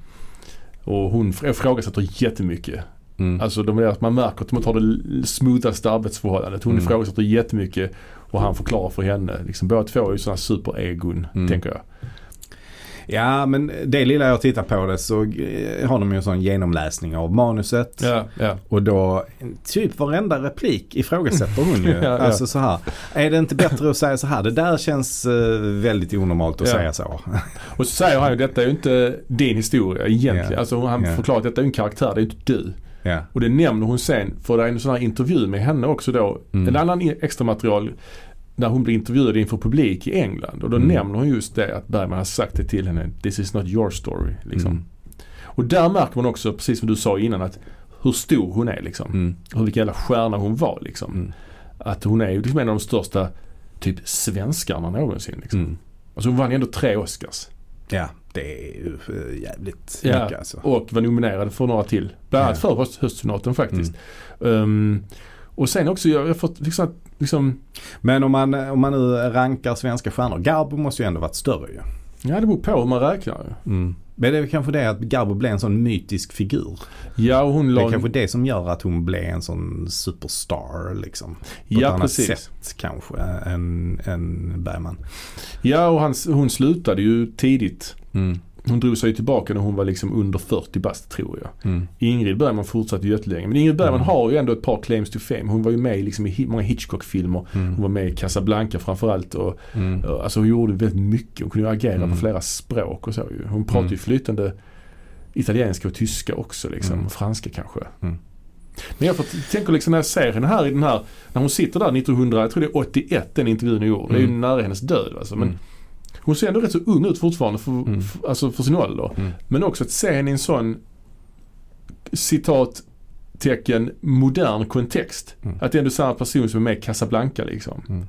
Speaker 1: Och hon fr- ifrågasätter jättemycket.
Speaker 2: Mm.
Speaker 1: Alltså de där, man märker att de inte har det l- smoothaste arbetsförhållandet. Hon
Speaker 2: Mm.
Speaker 1: ifrågasätter jättemycket och han förklarar för henne. Liksom, båda två är ju sådana superegon
Speaker 2: Mm.
Speaker 1: tänker jag.
Speaker 2: Ja, men det lilla jag tittar på det så eh, har de ju en sån genomläsning av manuset.
Speaker 1: Ja, ja.
Speaker 2: Och då, typ varenda replik ifrågasätter hon ju.
Speaker 1: Ja, ja.
Speaker 2: Alltså så här. Är det inte bättre att säga så här? Det där känns eh, väldigt onormalt att
Speaker 1: Ja.
Speaker 2: säga så.
Speaker 1: Och så säger han ju detta är ju inte din historia egentligen.
Speaker 2: Ja.
Speaker 1: Alltså han
Speaker 2: Ja.
Speaker 1: förklarar att detta är en karaktär, det är inte du.
Speaker 2: ja.
Speaker 1: Och det nämner hon sen för det är en sån här intervju med henne också då.
Speaker 2: Mm.
Speaker 1: En annan i- extra material där hon blir intervjuad inför publik i England. Och då
Speaker 2: Mm.
Speaker 1: nämner hon just det att Bergman har sagt det till henne. This is not your story. Liksom.
Speaker 2: Mm.
Speaker 1: Och där märker man också, precis som du sa innan, att hur stor hon är liksom.
Speaker 2: Mm.
Speaker 1: hur vilken jävla stjärna hon var liksom.
Speaker 2: Mm.
Speaker 1: Att hon är ju liksom en av de största typ svenskarna någonsin. Liksom.
Speaker 2: Mm.
Speaker 1: Alltså hon vann ju ändå tre Oscars.
Speaker 2: Ja, det är ju eh, jävligt
Speaker 1: Ja.
Speaker 2: mycket alltså.
Speaker 1: Och var nominerad för några till. Bland annat för höst- höstsonaten faktiskt.
Speaker 2: Mm.
Speaker 1: Ehm, och sen också, jag jag har fått liksom, att- liksom
Speaker 2: Men om man, eh, om man nu rankar svenska stjärnor. Garbo måste ju ändå varit större ju.
Speaker 1: ja det beror på hur man räknar ju.
Speaker 2: Men det är väl kanske det att Garbo blev en sån mytisk figur.
Speaker 1: Ja, och hon
Speaker 2: Det är
Speaker 1: la...
Speaker 2: kanske det som gör att hon blev en sån superstar liksom. På
Speaker 1: Ja,
Speaker 2: ett annat
Speaker 1: precis.
Speaker 2: sätt kanske än, än Bergman.
Speaker 1: Ja, och han, hon slutade ju tidigt.
Speaker 2: Mm.
Speaker 1: Hon drog sig ju tillbaka när hon var liksom under 40 bast tror jag.
Speaker 2: Mm.
Speaker 1: Ingrid Bergman fortsatte ju jättelänge. Men Ingrid Bergman
Speaker 2: Mm.
Speaker 1: har ju ändå ett par claims to fame. Hon var ju med liksom i hi- många Hitchcock-filmer. Hon
Speaker 2: Mm.
Speaker 1: var med i Casablanca framförallt. Och,
Speaker 2: Mm.
Speaker 1: och, alltså hon gjorde väldigt mycket. Hon kunde ju agera
Speaker 2: Mm.
Speaker 1: på flera språk och så ju. Hon pratade ju
Speaker 2: Mm.
Speaker 1: flytande italienska och tyska också liksom.
Speaker 2: Mm.
Speaker 1: Franska kanske.
Speaker 2: Mm.
Speaker 1: Men jag får, tänker liksom när jag ser henne här i den här, när hon sitter där 1900, jag tror det är 81 den intervjun är gjord. Det är ju
Speaker 2: Mm.
Speaker 1: nära hennes död alltså. Men
Speaker 2: Mm.
Speaker 1: hon ser ändå rätt så ung ut fortfarande för,
Speaker 2: Mm.
Speaker 1: för, alltså för sin ålder.
Speaker 2: Mm.
Speaker 1: Men också att se henne i en sån citat tecken modern kontext.
Speaker 2: Mm.
Speaker 1: Att det är ändå samma person som är med i Casablanca liksom.
Speaker 2: Mm.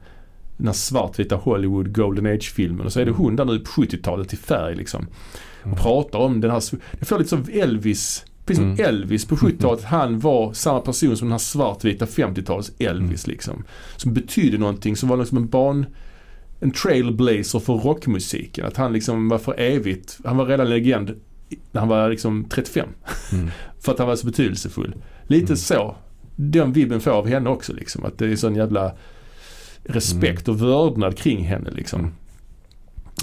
Speaker 1: Den här svartvita Hollywood Golden Age-filmen och så är det hon där nu på 70-talet i färg liksom. Och
Speaker 2: Mm.
Speaker 1: pratar om den här, sv- jag får lite som Elvis, precis som
Speaker 2: Mm.
Speaker 1: Elvis på 70-talet. Han var samma person som den här svartvita 50-talets Elvis
Speaker 2: Mm.
Speaker 1: liksom. Som betydde någonting, som var liksom en ban en trailblazer för rockmusiken. Att han liksom var för evigt, han var redan legend i- när han var liksom 35.
Speaker 2: Mm.
Speaker 1: För att han var så betydelsefull. Lite
Speaker 2: Mm.
Speaker 1: så, den vibben får jag av henne också liksom. Att det är sån jävla respekt och vördnad kring henne liksom.
Speaker 2: Mm.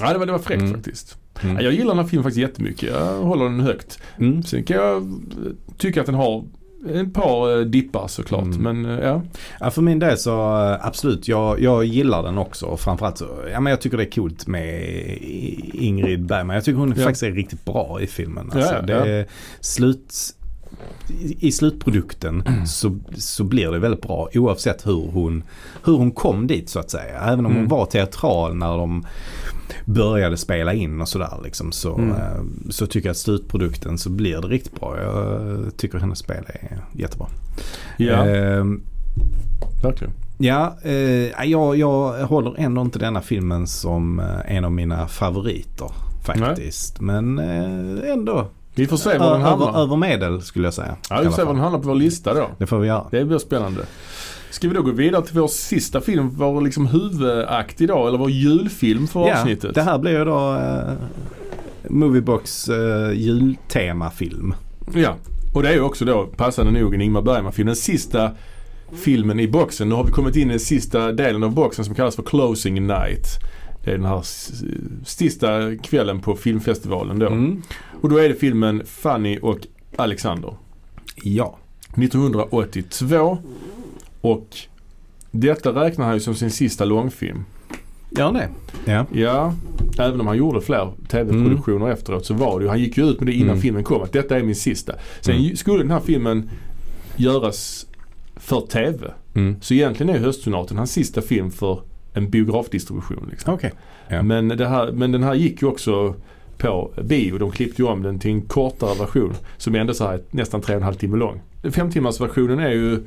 Speaker 1: Ja, det var, det var fräckt
Speaker 2: Mm.
Speaker 1: faktiskt. Ja,
Speaker 2: Mm.
Speaker 1: Jag gillar den här filmen faktiskt jättemycket. Jag håller den högt.
Speaker 2: Mm.
Speaker 1: Sen kan jag eh, tycka att den har ett par eh, dippar såklart.
Speaker 2: Mm.
Speaker 1: Men eh, ja.
Speaker 2: Ja, för min del så eh, absolut, jag, jag gillar den också. Framförallt så, ja men jag tycker det är coolt med I- Ingrid Bergman. Jag tycker hon
Speaker 1: Ja.
Speaker 2: faktiskt är riktigt bra i filmen.
Speaker 1: Ja,
Speaker 2: Alltså,
Speaker 1: ja,
Speaker 2: det är slut, i, I slutprodukten
Speaker 1: Mm.
Speaker 2: så, så blir det väldigt bra oavsett hur hon, hur hon kom dit så att säga. Även om
Speaker 1: Mm.
Speaker 2: hon var teatral när de började spela in och sådär liksom, så,
Speaker 1: Mm.
Speaker 2: eh, så tycker jag att slutprodukten så blir det riktigt bra. Jag eh, tycker hennes spel är jättebra.
Speaker 1: Ja,
Speaker 2: Ehm,
Speaker 1: verkligen.
Speaker 2: Ja, eh, jag, jag håller ändå inte denna filmen som eh, en av mina favoriter faktiskt. Men eh, ändå
Speaker 1: Vi får se var den
Speaker 2: över,
Speaker 1: hamnar.
Speaker 2: över medel skulle jag säga.
Speaker 1: Ja, vi
Speaker 2: I alla
Speaker 1: får se var
Speaker 2: fall.
Speaker 1: den hamnar på vår lista då.
Speaker 2: Det får vi göra.
Speaker 1: Det blir spännande. Ska vi då gå vidare till vår sista film, vår liksom huvudakt idag, eller vår julfilm för avsnittet?
Speaker 2: det här blir ju då eh, Moviebox eh, jultemafilm.
Speaker 1: Ja, och det är ju också då passande nog en Ingmar Bergman-film. Den sista filmen i boxen. Nu har vi kommit in i den sista delen av boxen som kallas för Closing Night. Det är den här s- sista kvällen på filmfestivalen då.
Speaker 2: Mm.
Speaker 1: Och då är det filmen Fanny och Alexander.
Speaker 2: Ja.
Speaker 1: 1982. Och detta räknar han ju som sin sista långfilm.
Speaker 2: Gör det? Ja.
Speaker 1: Ja, även om han gjorde fler tv-produktioner efteråt så var det ju, han gick ju ut med det innan
Speaker 2: Mm.
Speaker 1: filmen kom att detta är min sista. Sen
Speaker 2: Mm.
Speaker 1: ju- skulle den här filmen göras för tv.
Speaker 2: Mm.
Speaker 1: Så egentligen är Höstsonaten hans sista film för en biografdistribution. Liksom.
Speaker 2: Okej. Ja.
Speaker 1: Men, det här, men den här gick ju också på bio. De klippte ju om den till en kortare version som är ändå så här nästan tre och en halv timme lång. Femtimmarsversionen är ju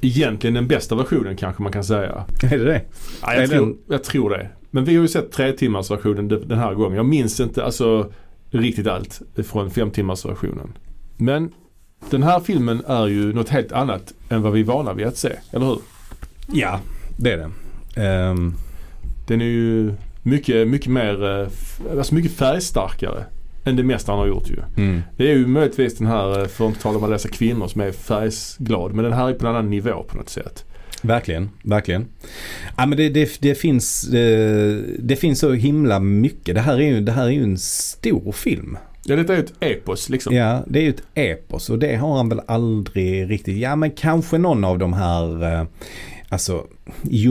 Speaker 1: egentligen den bästa versionen kanske man kan säga.
Speaker 2: Är det det?
Speaker 1: Ja, jag,
Speaker 2: Är
Speaker 1: tror,
Speaker 2: den-
Speaker 1: jag tror det. Men vi har ju sett tre timmars versionen de- den här gången. Jag minns inte alltså, riktigt allt från fem timmars versionen. Men den här filmen är ju något helt annat än vad vi är vana vid att se, eller hur?
Speaker 2: Ja, det är det. Ehm,
Speaker 1: Den är ju mycket, mycket mer, eh, f- alltså mycket färgstarkare än det mesta han har gjort ju.
Speaker 2: mm.
Speaker 1: Det är ju möjligtvis den här, eh, för att inte tala om alla dessa kvinnor som är färgsglad, men den här är på en annan nivå på något sätt.
Speaker 2: Verkligen, verkligen. Ja, men det, det, det, finns, eh, det finns så himla mycket. Det här är ju, det här är ju en stor film.
Speaker 1: Ja, detta är ju ett epos liksom.
Speaker 2: Ja, det är ju ett epos och det har han väl aldrig riktigt. Ja, men kanske någon av de här, eh, alltså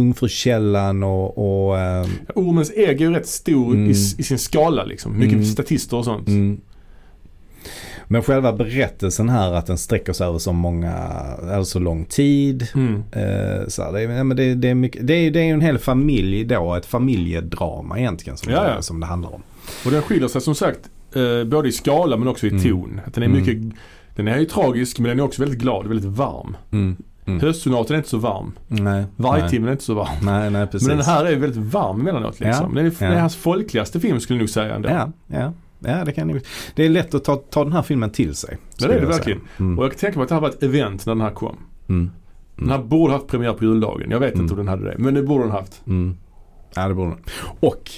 Speaker 2: Jungfrukällan och, och eh,
Speaker 1: Ormens ägg är ju rätt stor i,
Speaker 2: Mm.
Speaker 1: i sin skala liksom. Mycket
Speaker 2: Mm.
Speaker 1: statister och sånt.
Speaker 2: Mm. Men själva berättelsen här att den sträcker sig över så många, eller så lång tid.
Speaker 1: Mm.
Speaker 2: Eh, Så här, det, är- ja, men det, det, är mycket, det, är, det är ju en hel familj då, ett familjedrama egentligen som,
Speaker 1: Ja, ja.
Speaker 2: Det, som det handlar om.
Speaker 1: Och den skiljer sig som sagt eh, både i skala men också i
Speaker 2: Mm.
Speaker 1: ton. Att den är
Speaker 2: Mm.
Speaker 1: mycket, den är ju tragisk men den är också väldigt glad, väldigt varm.
Speaker 2: Mm.
Speaker 1: Höstsonaten är inte så varm.
Speaker 2: Nej, nej.
Speaker 1: Vargtimmen är inte så varm.
Speaker 2: Nej, nej, precis.
Speaker 1: Men den här är ju väldigt varm emellanåt liksom.
Speaker 2: Ja,
Speaker 1: Den, är, den är
Speaker 2: ja.
Speaker 1: hans folkligaste film skulle jag nog säga ändå.
Speaker 2: Ja, ja. Ja, det kan ju- Det är lätt att ta, ta den här filmen till sig. skulle
Speaker 1: det är det
Speaker 2: jag säga.
Speaker 1: verkligen.
Speaker 2: Mm.
Speaker 1: Och jag kan tänka mig att det här var ett event när den här kom.
Speaker 2: Mm.
Speaker 1: Den här borde haft premiär på juldagen. Jag vet
Speaker 2: Mm.
Speaker 1: inte om den hade det. Men det borde den haft.
Speaker 2: Mm. Ja, det borde den. Och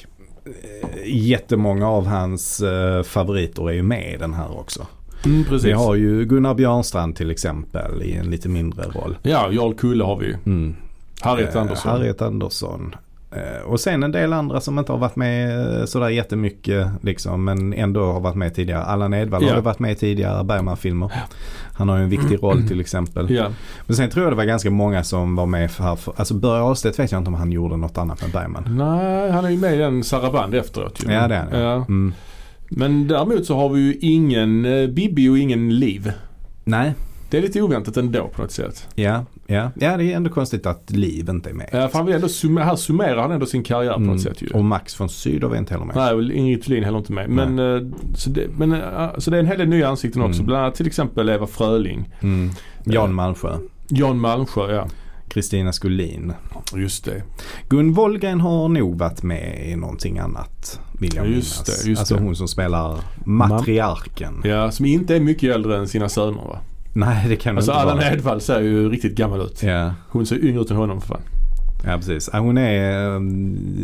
Speaker 2: eh, jättemånga av hans eh, favoriter är ju med i den här också.
Speaker 1: Mm, precis.
Speaker 2: Vi har ju Gunnar Björnstrand till exempel i en lite mindre roll.
Speaker 1: Ja, Jarl Kulle har vi ju.
Speaker 2: Mm.
Speaker 1: Harriet
Speaker 2: Eh,
Speaker 1: Andersson.
Speaker 2: Harriet Andersson. Eh, Och sen en del andra som inte har varit med eh, sådär jättemycket liksom, men ändå har varit med tidigare. Allan Edwall
Speaker 1: Ja.
Speaker 2: har varit med i tidigare Bergman-filmer. Han har ju en viktig roll till exempel.
Speaker 1: Ja.
Speaker 2: Men sen tror jag det var ganska många som var med för här. För, alltså Börje Ahlstedt vet jag inte om han gjorde något annat med Bergman.
Speaker 1: Nej, han är ju med i den Saraband efteråt ju.
Speaker 2: Ja det är han, ja.
Speaker 1: Ja.
Speaker 2: Mm.
Speaker 1: Men däremot så har vi ju ingen eh, Bibi och ingen Liv.
Speaker 2: Nej,
Speaker 1: Det är lite oväntat ändå på något sätt.
Speaker 2: ja, ja. Ja det är ändå konstigt att Liv inte är med.
Speaker 1: Eh, För han vill ändå summa, här summerar han ändå sin karriär på något
Speaker 2: Mm.
Speaker 1: sätt ju.
Speaker 2: Och Max von Sydow är inte heller med.
Speaker 1: Nej, och Ingrid Thulin heller inte med. Men, eh, så, det, men, eh, så det är en hel del nya ansikten också.
Speaker 2: Mm.
Speaker 1: Bland annat till exempel Eva Fröling.
Speaker 2: Mm.
Speaker 1: Eh.
Speaker 2: Jan Malmsjö,
Speaker 1: Jan Malmsjö, ja.
Speaker 2: Kristina Skolin.
Speaker 1: Just det.
Speaker 2: Gun Wollgren har nog varit med i någonting annat vill jag
Speaker 1: Just
Speaker 2: minnas.
Speaker 1: det, just
Speaker 2: alltså
Speaker 1: det.
Speaker 2: hon som spelar matriarken.
Speaker 1: Ja, som inte är mycket äldre än sina söner va.
Speaker 2: Nej det kan
Speaker 1: Alltså
Speaker 2: det inte
Speaker 1: Allan
Speaker 2: vara.
Speaker 1: Edwall ser ju riktigt gammal ut.
Speaker 2: Ja,
Speaker 1: Hon ser yngre ut än honom för fan.
Speaker 2: ja precis. Ja, Hon är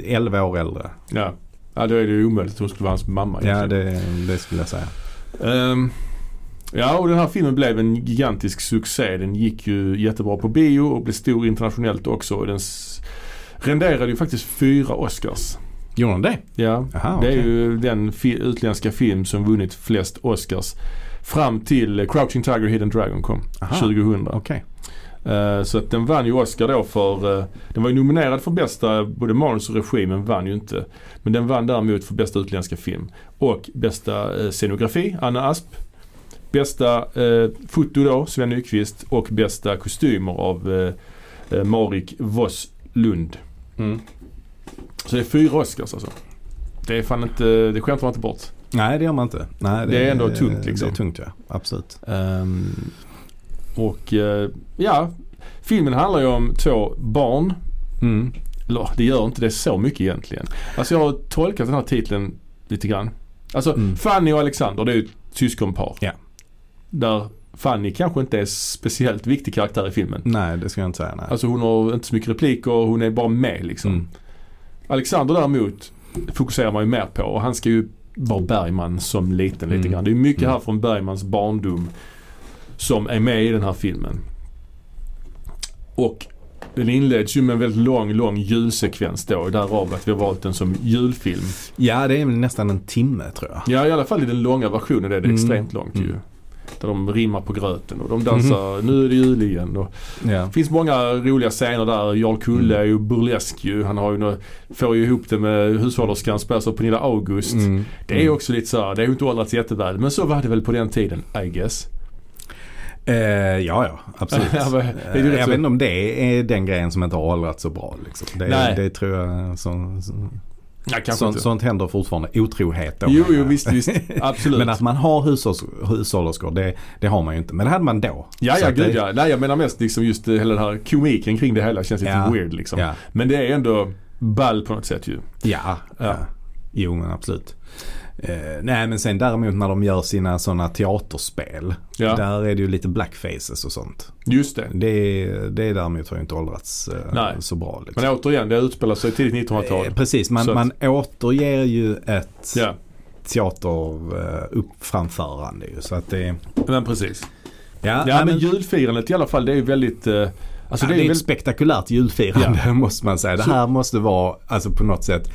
Speaker 2: eh, 11 år äldre.
Speaker 1: Ja. Ja, då är det ju omöjligt att hon skulle vara hans mamma.
Speaker 2: Ja
Speaker 1: egentligen.
Speaker 2: det, det skulle jag säga.
Speaker 1: Ehm, ja, och den här filmen blev en gigantisk succé. Den gick ju jättebra på bio och blev stor internationellt också. Och Den s- renderade ju faktiskt fyra Oscars.
Speaker 2: Gjorde hon det?
Speaker 1: Ja,
Speaker 2: Aha,
Speaker 1: det är
Speaker 2: okej.
Speaker 1: ju den fi- utländska film som vunnit flest Oscars fram till eh, Crouching Tiger Hidden Dragon kom
Speaker 2: Aha.
Speaker 1: 2000.
Speaker 2: Okej.
Speaker 1: Eh, så att den vann ju Oscar då för, eh, den var ju nominerad för bästa både manus och regi men vann ju inte. Men den vann däremot för bästa utländska film och bästa eh, scenografi, Anna Asp. Bästa eh, foto då, Sven Nykvist och bästa kostymer av eh, eh, Marik Vosslund.
Speaker 2: Mm.
Speaker 1: Så det är fyra Oscars alltså. Det är fan inte, det skämtar man inte bort.
Speaker 2: Nej det gör man inte. Nej,
Speaker 1: Det är ändå tungt, liksom.
Speaker 2: Det är tungt ja, absolut.
Speaker 1: Ehm, och eh, ja, filmen handlar ju om två barn
Speaker 2: Mm.
Speaker 1: Eller, det gör inte det så mycket egentligen. Alltså jag har tolkat den här titeln lite grann. Alltså
Speaker 2: Mm.
Speaker 1: Fanny och Alexander det är ju ett syskonpar.
Speaker 2: Ja.
Speaker 1: Där Fanny kanske inte är speciellt viktig karaktär i filmen.
Speaker 2: Nej det ska jag inte säga. Nej.
Speaker 1: Alltså hon har inte så mycket repliker, hon är bara med liksom.
Speaker 2: Mm.
Speaker 1: Alexander däremot fokuserar man ju mer på och han ska ju vara Bergman som liten lite
Speaker 2: Mm.
Speaker 1: grann. Det är mycket
Speaker 2: Mm.
Speaker 1: här från Bergmans barndom som är med i den här filmen. Och den inleds ju med en väldigt lång, lång julsekvens då. Därav att vi har valt den som julfilm.
Speaker 2: Ja det är väl nästan en timme tror jag.
Speaker 1: Ja, i alla fall i den långa versionen är det
Speaker 2: Mm.
Speaker 1: extremt långt ju.
Speaker 2: Mm. Mm-hmm.
Speaker 1: Där de rimmar på gröten och de dansar Nu är det jul igen. Och
Speaker 2: Ja.
Speaker 1: det finns många roliga scener där. Jarl Kulle
Speaker 2: Mm.
Speaker 1: är ju burlesk ju. Han har ju nå- får ju ihop det med hushållerskan som spelas av Pernilla August.
Speaker 2: Mm.
Speaker 1: Det är ju också lite så här, det är ju inte åldrats jätteväl. Men så var det väl på den tiden, I guess.
Speaker 2: Eh, ja, ja, absolut.
Speaker 1: Ja, men det är ju
Speaker 2: Eh,
Speaker 1: rätt
Speaker 2: jag
Speaker 1: så-
Speaker 2: vet inte om det är den grejen som inte har åldrats så bra. Liksom. Det,
Speaker 1: Nej.
Speaker 2: det tror jag, så, så,
Speaker 1: Ja, kanske
Speaker 2: sånt,
Speaker 1: inte.
Speaker 2: sånt händer fortfarande. Otrohet då.
Speaker 1: jo, jo, visst, visst. Absolut.
Speaker 2: Men att man har hushålls, hushållerskor, det, det har man ju inte. Men det hade man då.
Speaker 1: ja,
Speaker 2: Så
Speaker 1: ja,
Speaker 2: att det-
Speaker 1: gud ja. Nej, jag menar mest liksom just eh, hela den här komiken kring det hela känns lite
Speaker 2: Ja.
Speaker 1: weird liksom.
Speaker 2: Ja,
Speaker 1: Men det är ändå ball på något sätt ju.
Speaker 2: ja, ja.
Speaker 1: Ja.
Speaker 2: Jo, men absolut. Eh, nej, men sen däremot när de gör sina sådana teaterspel.
Speaker 1: Ja,
Speaker 2: Där är det ju lite blackfaces och sånt.
Speaker 1: just det.
Speaker 2: Det, det däremot har ju inte åldrats eh,
Speaker 1: Nej.
Speaker 2: så bra. Liksom.
Speaker 1: Men återigen, det utspelar sig tidigt
Speaker 2: Eh,
Speaker 1: 1900-tal.
Speaker 2: Precis, man,
Speaker 1: Så att-
Speaker 2: man återger ju ett
Speaker 1: Ja,
Speaker 2: teateruppframförande ju. Så att det, ja,
Speaker 1: men precis.
Speaker 2: ja,
Speaker 1: Ja, men
Speaker 2: men,
Speaker 1: julfirandet i alla fall, det är ju väldigt... eh, Alltså
Speaker 2: ja,
Speaker 1: det är ju
Speaker 2: ett
Speaker 1: väldigt...
Speaker 2: spektakulärt julfirande måste man säga. Det
Speaker 1: Så-
Speaker 2: här måste vara alltså på något sätt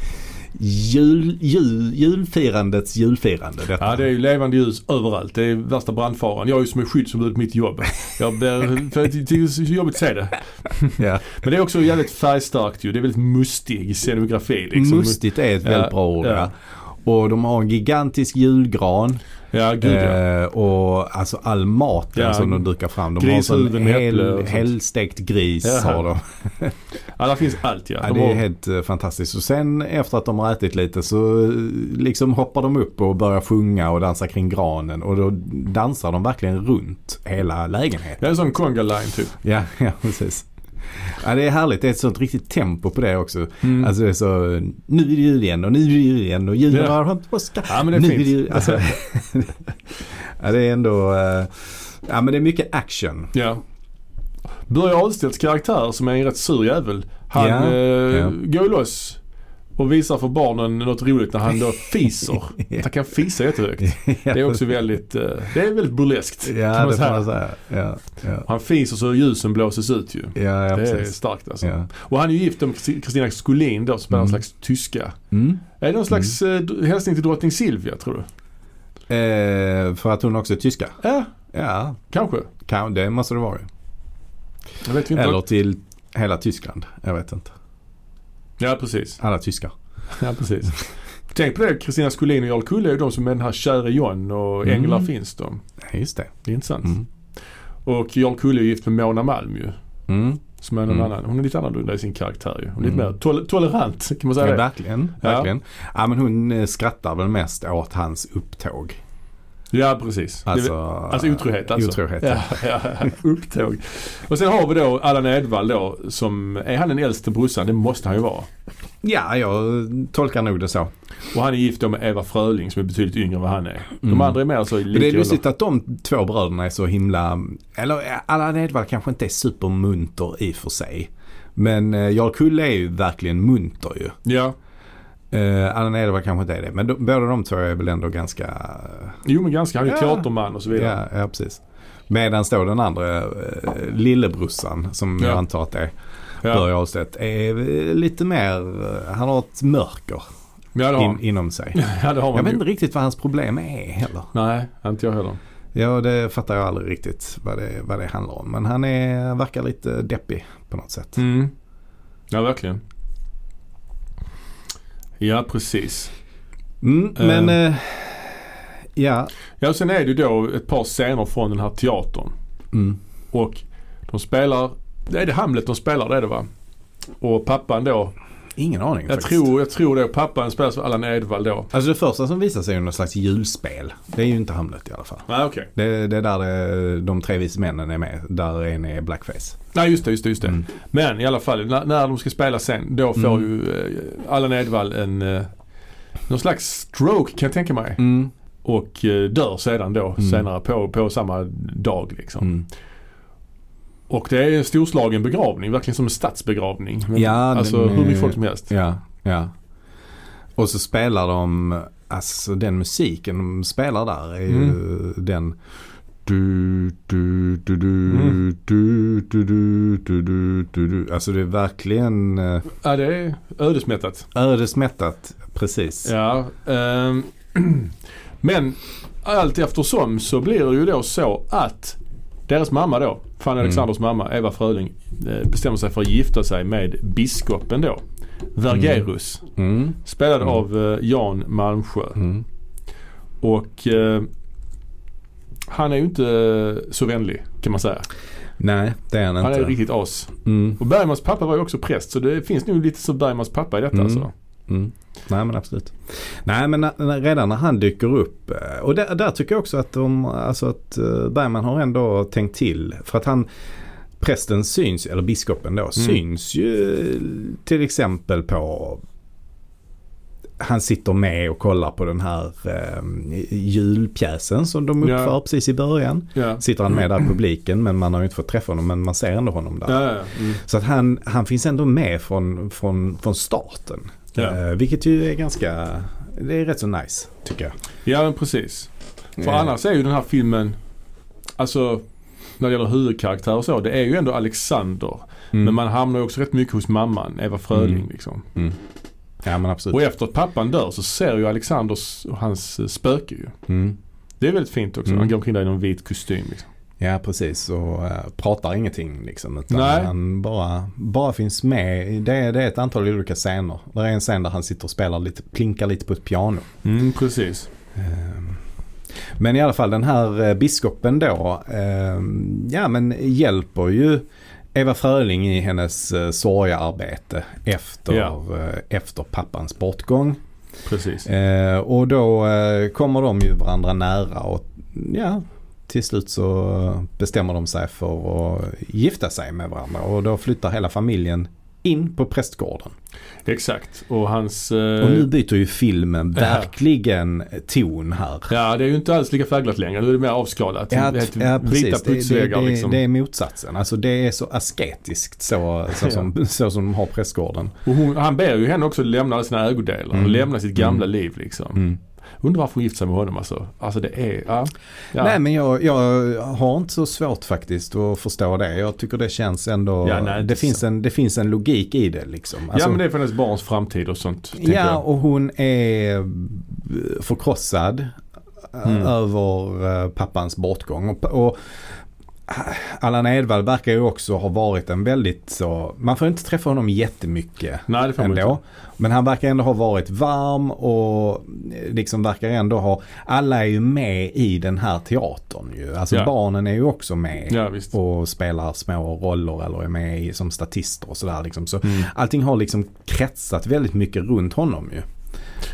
Speaker 2: jul, jul, julfirandets julfirande. Detta.
Speaker 1: Ja, det är ju levande ljus överallt. Det är värsta brandfaran. Jag är ju som en skyddsombud på mitt jobb. Jag blir... För det är så jobbigt att se det.
Speaker 2: ja.
Speaker 1: Men det är också jävligt färgstarkt ju. Det är väldigt mustig scenografi. Liksom.
Speaker 2: Mustigt är ett väldigt
Speaker 1: Ja,
Speaker 2: bra ord.
Speaker 1: ja.
Speaker 2: Ja. Och de har en gigantisk julgran
Speaker 1: Ja, gud ja.
Speaker 2: eh, och alltså all maten
Speaker 1: Ja,
Speaker 2: som de dukar fram. De
Speaker 1: grishuvuden,
Speaker 2: har
Speaker 1: äpple och
Speaker 2: en hel,
Speaker 1: sånt.
Speaker 2: helstekt gris
Speaker 1: Ja.
Speaker 2: har de.
Speaker 1: ja. Där finns allt ja.
Speaker 2: Ja,
Speaker 1: De
Speaker 2: det är
Speaker 1: har-
Speaker 2: helt eh, fantastiskt. Och sen efter att de har ätit lite så eh, liksom hoppar de upp och börjar sjunga och dansa kring granen. Och då dansar de verkligen runt hela lägenheten.
Speaker 1: Det är en sån conga line typ.
Speaker 2: Ja, ja precis. Ja, det är härligt. Det är ett sånt riktigt tempo på det också.
Speaker 1: Mm.
Speaker 2: Alltså det är så, nu är det jul igen och nu är det jul igen och julen
Speaker 1: Ja.
Speaker 2: har kommit på ska.
Speaker 1: Ja, men det är
Speaker 2: nu
Speaker 1: fint.
Speaker 2: jul. Alltså, ja, det är ändå, eh, ja men det är mycket action.
Speaker 1: Ja. Börje Ahlstedts karaktär som är en rätt sur jävel. Han
Speaker 2: Ja,
Speaker 1: eh,
Speaker 2: ja.
Speaker 1: går loss Och visar för barnen något roligt när han då fiser. Att han kan fisa jättehögt. Det är också väldigt, eh, det är väldigt burleskt.
Speaker 2: Ja,
Speaker 1: kan man
Speaker 2: det får
Speaker 1: säga.
Speaker 2: man säga. Ja, ja.
Speaker 1: Han fiser så ljusen blåses ut ju.
Speaker 2: Ja, ja,
Speaker 1: det är
Speaker 2: precis.
Speaker 1: starkt alltså.
Speaker 2: Ja.
Speaker 1: Och han är ju gift med Kristina Skolin då som spelar någon
Speaker 2: Mm.
Speaker 1: slags tyska.
Speaker 2: Mm.
Speaker 1: Är det någon slags mm. hälsning till drottning Silvia tror du?
Speaker 2: Eh, för att hon också är tyska?
Speaker 1: Ja,
Speaker 2: Ja,
Speaker 1: kanske.
Speaker 2: kan, det måste det vara. ju.
Speaker 1: Jag vet ju inte.
Speaker 2: Eller till hela Tyskland. Jag vet inte.
Speaker 1: Ja, precis.
Speaker 2: Alla tyskar.
Speaker 1: Ja, precis. Tänk på det, Kristina Skolin och Jarl Kulle är ju de som är den här käre John och
Speaker 2: Mm.
Speaker 1: Änglar finns de.
Speaker 2: Ja, just det.
Speaker 1: Det är intressant.
Speaker 2: Mm.
Speaker 1: Och Jarl Kulle är gift med Mona Malm ju.
Speaker 2: Mm.
Speaker 1: Som är någon
Speaker 2: Mm.
Speaker 1: annan. Hon är lite annorlunda i sin karaktär ju. Hon är lite
Speaker 2: Mm.
Speaker 1: mer tol- tolerant kan man säga
Speaker 2: Ja,
Speaker 1: det.
Speaker 2: verkligen.
Speaker 1: Ja.
Speaker 2: verkligen. Ja, men hon eh, skrattar väl mest åt hans upptåg.
Speaker 1: Ja precis. Det är
Speaker 2: Alltså,
Speaker 1: Alltså otrohet alltså.
Speaker 2: Otrohet,
Speaker 1: Ja, ja, ja. Upptåg. Och sen har vi då Allan Edwall då som, är han den äldste brorsan? Det måste han ju vara.
Speaker 2: Ja, jag tolkar nog det så.
Speaker 1: Och han är gift då med Eva Fröling som är betydligt yngre än vad han är. De
Speaker 2: Mm.
Speaker 1: andra är mer alltså i
Speaker 2: Men det
Speaker 1: lika
Speaker 2: är lustigt att de två bröderna är så himla, eller eh, Allan Edwall kanske inte är supermunter i och för sig. Men eh, Jarl Kulle är ju verkligen munter ju.
Speaker 1: Ja,
Speaker 2: Eh, Allan Edwall kanske inte är det. Men de, båda de två är väl ändå ganska, eh,
Speaker 1: jo men ganska. Han är ju
Speaker 2: Ja.
Speaker 1: teaterman och så vidare.
Speaker 2: ja, ja precis. Medan då den andra eh, lillebrorsan, som
Speaker 1: Ja.
Speaker 2: jag antar att det är,
Speaker 1: Ja.
Speaker 2: Börje Ahlstedt, är eh, lite mer, eh, han har ett mörker
Speaker 1: Ja, det har
Speaker 2: in,
Speaker 1: han.
Speaker 2: inom sig.
Speaker 1: Ja, det har
Speaker 2: Jag
Speaker 1: man
Speaker 2: vet
Speaker 1: ju.
Speaker 2: inte riktigt vad hans problem är heller.
Speaker 1: Nej, inte jag heller.
Speaker 2: Ja, det fattar jag aldrig riktigt vad det, vad det handlar om. Men han är, verkar lite deppig på något sätt.
Speaker 1: Mm. Ja, verkligen. Ja, precis.
Speaker 2: Mm,
Speaker 1: Eh.
Speaker 2: men eh, ja.
Speaker 1: Ja, och sen är det ju då ett par scener från den här teatern.
Speaker 2: Mm.
Speaker 1: Och de spelar, det är det Hamlet de spelar, det är det va? Och pappan då,
Speaker 2: Ingen aning
Speaker 1: jag
Speaker 2: faktiskt.
Speaker 1: tror, jag tror det, pappan spelas av Allan Edwall då.
Speaker 2: Alltså det första som visar sig är ju något slags julspel. Det är ju inte Hamlet i alla fall.
Speaker 1: Nej, okej.
Speaker 2: Det, det är där det, de tre vise männen är med. Där en är blackface.
Speaker 1: Nej, just det, just det, just det.
Speaker 2: Mm.
Speaker 1: Men i alla fall, när, när de ska spela sen, då får
Speaker 2: Mm.
Speaker 1: ju eh, Allan Edwall en, eh, någon slags stroke kan jag tänka mig.
Speaker 2: Mm.
Speaker 1: Och eh, dör sedan då,
Speaker 2: Mm.
Speaker 1: senare på, på samma dag liksom.
Speaker 2: Mm.
Speaker 1: Och det är en storslagen begravning, verkligen som en statsbegravning. Men,
Speaker 2: Ja,
Speaker 1: alltså
Speaker 2: den är-
Speaker 1: hur mycket folk som helst.
Speaker 2: Ja, ja. Och så spelar de, alltså den musiken de spelar där är
Speaker 1: Mm.
Speaker 2: ju den du, du, du, du,
Speaker 1: Mm.
Speaker 2: du, du, du, du, du, du, du. Alltså det är verkligen eh,
Speaker 1: Ja, det är ödesmättat.
Speaker 2: ödesmättat. Precis.
Speaker 1: Ja, ehm, men allt eftersom så blir det ju då så att deras mamma då, Fanny Alexanders mamma, Eva Fröling, eh, bestämmer sig för att gifta sig med biskopen då. Vergerus,
Speaker 2: Mm.
Speaker 1: spelad
Speaker 2: Mm.
Speaker 1: av eh, Jan Malmsjö.
Speaker 2: Mm.
Speaker 1: Och eh, han är ju inte så vänlig kan man säga.
Speaker 2: Nej, det är han inte.
Speaker 1: Han är riktigt as.
Speaker 2: mm.
Speaker 1: Och Bergmans pappa var ju också präst så det finns nog lite så Bergmans pappa i detta
Speaker 2: Mm.
Speaker 1: alltså.
Speaker 2: Mm. Nej men absolut. Nej men na- na- redan när han dyker upp. eh, Och där, där tycker jag också att, de, alltså att eh, Bergman har ändå tänkt till. För att han, prästen syns, eller biskopen då, syns ju eh, till exempel på han sitter med och kollar på den här eh, julpjäsen som de
Speaker 1: Ja.
Speaker 2: uppför precis i början.
Speaker 1: Ja.
Speaker 2: Sitter han med där i publiken men man har ju inte fått träffa honom men man ser ändå honom där.
Speaker 1: Ja, ja, ja. Mm.
Speaker 2: Så att han, han finns ändå med från, från, från starten.
Speaker 1: Ja.
Speaker 2: Eh, vilket ju är ganska, det är rätt så nice tycker jag.
Speaker 1: ja men precis. För
Speaker 2: Eh,
Speaker 1: annars är ju den här filmen, alltså när det gäller huvudkaraktär och så, det är ju ändå Alexander.
Speaker 2: mm.
Speaker 1: Men man hamnar ju också rätt mycket hos mamman, Eva Fröling
Speaker 2: Mm.
Speaker 1: liksom.
Speaker 2: mm. Ja men absolut.
Speaker 1: Och efter att pappan dör så ser ju Alexanders och hans eh, spöke ju.
Speaker 2: Mm.
Speaker 1: Det är väldigt fint också.
Speaker 2: Mm.
Speaker 1: Han går omkring där i någon vit kostym. Liksom.
Speaker 2: Ja precis och eh, pratar ingenting liksom. Utan
Speaker 1: Nej.
Speaker 2: Han bara, bara finns med. Det är, det är ett antal olika scener. Det är en scen där han sitter och spelar lite, plinkar lite på ett piano.
Speaker 1: Mm, precis.
Speaker 2: Ehm, Men i alla fall den här eh, biskopen då, ehm, ja men hjälper ju Eva Fröling i hennes eh, sorgearbete efter,
Speaker 1: Ja.
Speaker 2: eh, efter pappans bortgång.
Speaker 1: Precis.
Speaker 2: Eh, Och då eh, kommer de ju varandra nära och ja, till slut så bestämmer de sig för att gifta sig med varandra och då flyttar hela familjen in på prästgården.
Speaker 1: Exakt. Och hans... eh,
Speaker 2: Och nu byter ju filmen
Speaker 1: Ja.
Speaker 2: verkligen ton här.
Speaker 1: Ja, det är ju inte alls lika färgglatt längre. Nu är Typ, det mer avskalat.
Speaker 2: Ja,
Speaker 1: Helt
Speaker 2: ja, precis.
Speaker 1: vita
Speaker 2: Det- det,
Speaker 1: putsväggar
Speaker 2: det,
Speaker 1: liksom.
Speaker 2: det är motsatsen. Alltså det är så asketiskt så, så,
Speaker 1: Ja.
Speaker 2: som, så som de har prästgården.
Speaker 1: Och hon, han ber ju henne också lämna alla sina ägodelar
Speaker 2: Mm.
Speaker 1: och lämna sitt gamla
Speaker 2: Mm.
Speaker 1: liv liksom. Undrar varför hon gifte sig med honom alltså. Alltså det är, ja. ja.
Speaker 2: Nej men jag, jag har inte så svårt faktiskt att förstå det. Jag tycker det känns ändå,
Speaker 1: Ja, nej,
Speaker 2: det,
Speaker 1: det-
Speaker 2: finns en, det finns en logik i det liksom. Alltså-
Speaker 1: ja men det är för hennes barns framtid och sånt. tänker
Speaker 2: Ja,
Speaker 1: jag.
Speaker 2: och hon är eh, förkrossad eh,
Speaker 1: Mm.
Speaker 2: över eh, pappans bortgång. Och, och eh, Allan Edwall verkar ju också ha varit en väldigt så, man får inte träffa honom jättemycket
Speaker 1: Nej det får man
Speaker 2: ändå.
Speaker 1: inte.
Speaker 2: Men han verkar ändå ha varit varm och liksom verkar ändå ha, alla är ju med i den här teatern ju. Alltså
Speaker 1: Ja.
Speaker 2: barnen är ju också med
Speaker 1: Ja visst.
Speaker 2: och spelar små roller eller är med i, som statister och sådär. Liksom. Så
Speaker 1: Mm.
Speaker 2: Allting har liksom kretsat väldigt mycket runt honom ju.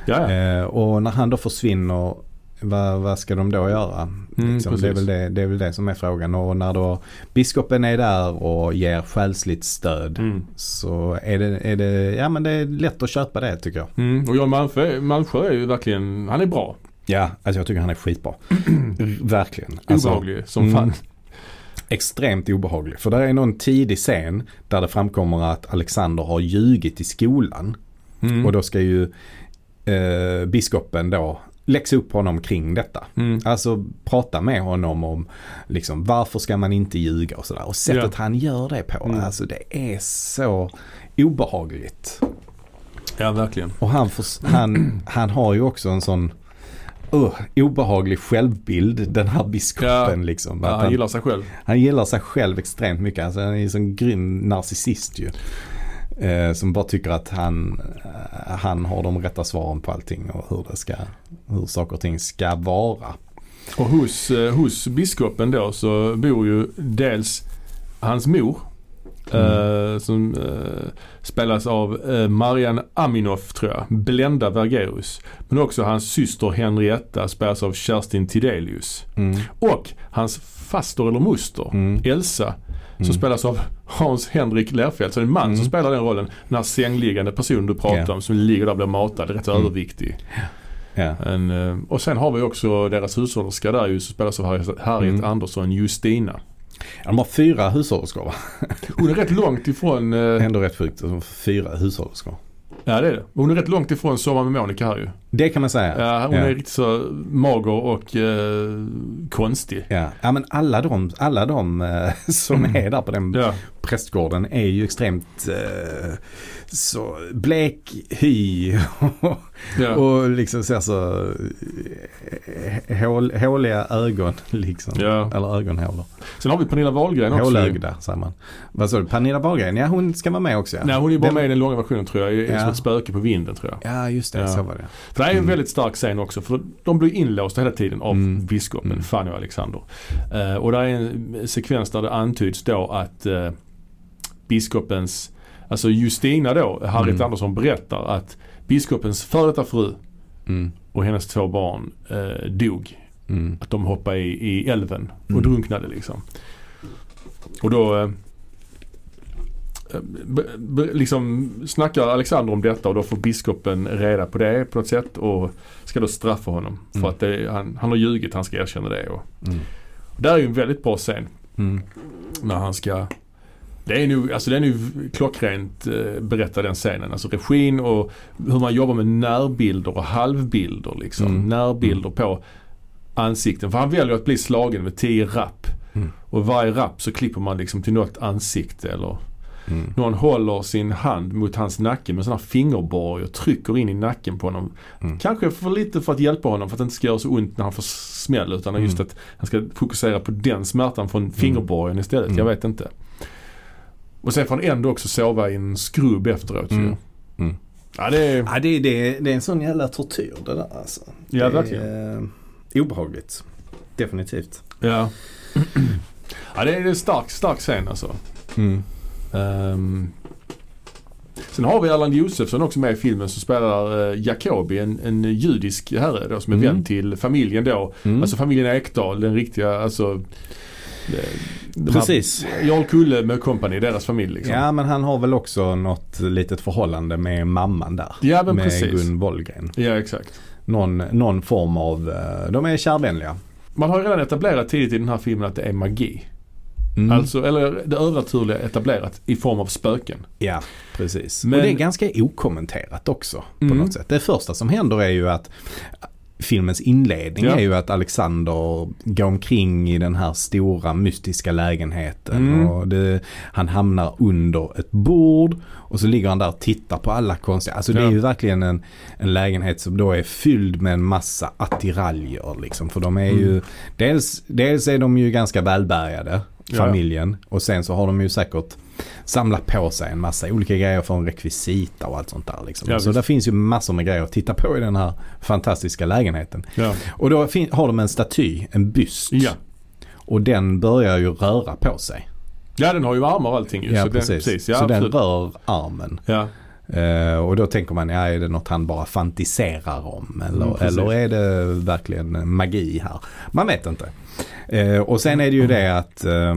Speaker 1: Ja, ja.
Speaker 2: Eh, och när han då försvinner, vad, vad ska de då göra?
Speaker 1: Mm,
Speaker 2: liksom, det, är
Speaker 1: precis.
Speaker 2: väl det, det är väl det som är frågan. Och när då biskopen är där och ger själsligt stöd
Speaker 1: Mm.
Speaker 2: så är det, är det, ja men det är lätt att köpa det tycker jag.
Speaker 1: Mm. Och Jan Malmsjö, Malmsjö är ju verkligen, han är bra.
Speaker 2: Ja, alltså jag tycker han är skitbra. Verkligen.
Speaker 1: Obehaglig som fan.
Speaker 2: Alltså- Mm. extremt obehaglig. För där är någon tidig scen där det framkommer att Alexander har ljugit i skolan.
Speaker 1: Mm.
Speaker 2: Och då ska ju eh, biskopen då läxa upp honom kring detta.
Speaker 1: Mm.
Speaker 2: Alltså prata med honom om liksom, varför ska man inte ljuga och sådär. Och sättet
Speaker 1: Ja.
Speaker 2: han gör det på,
Speaker 1: Mm.
Speaker 2: alltså det är så obehagligt.
Speaker 1: Ja verkligen.
Speaker 2: Och han, förs- han, han har ju också en sån uh, obehaglig självbild den här biskopen liksom.
Speaker 1: Ja,
Speaker 2: Att
Speaker 1: han
Speaker 2: han,
Speaker 1: gillar sig själv.
Speaker 2: han gillar sig själv extremt mycket. Alltså, han är en sån grym narcissist ju. Eh, som bara tycker att han, eh, han har de rätta svaren på allting och hur, det ska, hur saker och ting ska vara.
Speaker 1: Och hos, eh, hos biskopen då så bor ju dels hans mor
Speaker 2: Mm.
Speaker 1: eh, som eh, spelas av eh, Marianne Aminoff tror jag, Blenda Vergerus. Men också hans syster Henrietta spelas av Kerstin Tidelius.
Speaker 2: Mm.
Speaker 1: Och hans faster eller moster
Speaker 2: Mm.
Speaker 1: Elsa som
Speaker 2: Mm.
Speaker 1: spelas av Hans Henrik Lerfelt. Så det är en man
Speaker 2: Mm.
Speaker 1: som spelar den rollen. Den här sängliggande personen du pratar
Speaker 2: Ja.
Speaker 1: om som ligger där och blir matad, rätt
Speaker 2: Mm.
Speaker 1: överviktig.
Speaker 2: Ja.
Speaker 1: En, eh, och sen har vi också deras hushållerska där ju som spelas av Harriet, Harriet
Speaker 2: Mm.
Speaker 1: Andersson Justina.
Speaker 2: De har fyra hushållerskor va?
Speaker 1: Hon är rätt långt ifrån, eh,
Speaker 2: Ändå rätt sjukt. De har fyra hushållerskor.
Speaker 1: ja det är det. Hon är rätt långt ifrån Sommar med Monica här ju.
Speaker 2: Det kan man säga.
Speaker 1: Ja, hon
Speaker 2: Ja.
Speaker 1: är riktigt så mager och eh, konstig.
Speaker 2: Ja. ja men alla de, alla de eh, som är där på den
Speaker 1: Ja,
Speaker 2: prästgården är ju extremt eh, så blek hy
Speaker 1: ja.
Speaker 2: Och liksom ser så eh, hål, håliga ögon liksom.
Speaker 1: ja.
Speaker 2: Eller ögonhålor.
Speaker 1: Sen har vi Pernilla Wahlgren också.
Speaker 2: Hålögda säger man. Vad sa du? Pernilla Wahlgren? Ja hon ska vara med också ja.
Speaker 1: Nej hon är bara
Speaker 2: Den-
Speaker 1: med i den långa versionen tror jag. Är
Speaker 2: Ja.
Speaker 1: Som ett spöke på vinden tror jag.
Speaker 2: Ja just det,
Speaker 1: Ja.
Speaker 2: så var det.
Speaker 1: För det här är en
Speaker 2: Mm.
Speaker 1: väldigt stark scen också. För de blir inlåsta hela tiden av
Speaker 2: Mm.
Speaker 1: biskopen
Speaker 2: Mm.
Speaker 1: Fanny och Alexander. Eh, och där är en sekvens där det antyds då att eh, biskopens, alltså Justina då, Harriet
Speaker 2: Mm.
Speaker 1: Andersson berättar att biskopens före detta fru
Speaker 2: Mm.
Speaker 1: och hennes två barn eh, dog.
Speaker 2: Mm.
Speaker 1: Att de hoppade i, i älven och
Speaker 2: Mm.
Speaker 1: drunknade liksom. Och då eh, b- b- liksom snackar Alexander om detta och då får biskopen reda på det på något sätt och ska då straffa honom.
Speaker 2: Mm.
Speaker 1: För att det, han, han har ljugit, han ska erkänna det. Och,
Speaker 2: Mm.
Speaker 1: och där är ju en väldigt bra scen
Speaker 2: Mm.
Speaker 1: när han ska det är nu, alltså det är nu klockrent eh, berätta den scenen. Alltså regin och hur man jobbar med närbilder och halvbilder. Liksom.
Speaker 2: Mm.
Speaker 1: Närbilder på ansikten. För han väljer att bli slagen med 10 rapp.
Speaker 2: Mm.
Speaker 1: Och varje rapp så klipper man liksom till något ansikte eller
Speaker 2: Mm.
Speaker 1: någon håller sin hand mot hans nacke med en sån här fingerborg och trycker in i nacken på honom.
Speaker 2: Mm.
Speaker 1: Kanske för lite för att hjälpa honom för att det inte ska göra så ont när han får smäll utan
Speaker 2: Mm.
Speaker 1: just att han ska fokusera på den smärtan från fingerborgen istället.
Speaker 2: Mm.
Speaker 1: Jag vet inte. Och sen får han ändå också sova i en skrubb efteråt ju.
Speaker 2: Mm. Mm.
Speaker 1: Ja det är...
Speaker 2: Ja, det, det, det är en sån jävla tortyr det där alltså.
Speaker 1: Ja,
Speaker 2: det
Speaker 1: verkligen.
Speaker 2: är, eh, obehagligt. Definitivt.
Speaker 1: Ja. ja det är en stark, stark scen alltså.
Speaker 2: Mm.
Speaker 1: Ehm. Sen har vi Erland Josefsson också med i filmen som spelar eh, Jacobi, en, en judisk herre då, som är
Speaker 2: Mm.
Speaker 1: vän till familjen då.
Speaker 2: Mm.
Speaker 1: Alltså familjen Ekdal, den riktiga, alltså de här-
Speaker 2: Precis.
Speaker 1: Jarl Kulle med company, deras familj liksom.
Speaker 2: Ja men han har väl också något litet förhållande med mamman där.
Speaker 1: Ja, men
Speaker 2: med
Speaker 1: precis.
Speaker 2: Gun Wollgren.
Speaker 1: ja exakt.
Speaker 2: Någon, någon form av, eh, de är
Speaker 1: Mm.
Speaker 2: kärvänliga.
Speaker 1: Man har ju redan etablerat tidigt i den här filmen att det är magi.
Speaker 2: Mm.
Speaker 1: Alltså, eller det övernaturliga etablerat i form av spöken.
Speaker 2: Ja, precis.
Speaker 1: Men-
Speaker 2: Och det är ganska okommenterat också
Speaker 1: Mm.
Speaker 2: på något sätt. Det första som händer är ju att filmens inledning
Speaker 1: Ja.
Speaker 2: är ju att Alexander går omkring i den här stora mystiska lägenheten.
Speaker 1: Mm.
Speaker 2: Och det, han hamnar under ett bord och så ligger han där och tittar på alla konstiga. Alltså det
Speaker 1: Ja.
Speaker 2: är ju verkligen en, en lägenhet som då är fylld med en massa attiraljer. Liksom, för de är
Speaker 1: Mm.
Speaker 2: ju, dels, dels är de ju ganska välbärgade,
Speaker 1: Ja.
Speaker 2: familjen. Och sen så har de ju säkert samlat på sig en massa olika grejer från rekvisita och allt sånt där. Liksom.
Speaker 1: Ja,
Speaker 2: så
Speaker 1: visst.
Speaker 2: där finns ju massor med grejer att titta på i den här fantastiska lägenheten.
Speaker 1: Ja.
Speaker 2: Och då fin- har de en staty, en byst.
Speaker 1: Ja.
Speaker 2: Och den börjar ju röra på sig.
Speaker 1: ja, den har ju armar och allting ju.
Speaker 2: ja,
Speaker 1: så
Speaker 2: precis.
Speaker 1: Den, precis. Ja,
Speaker 2: så den
Speaker 1: absolut.
Speaker 2: rör armen.
Speaker 1: Ja.
Speaker 2: Eh, och då tänker man, ja, är det något han bara fantiserar om? Eller,
Speaker 1: Mm, precis.
Speaker 2: eller är det verkligen magi här? Man vet inte. Eh, och sen är det ju det att, eh,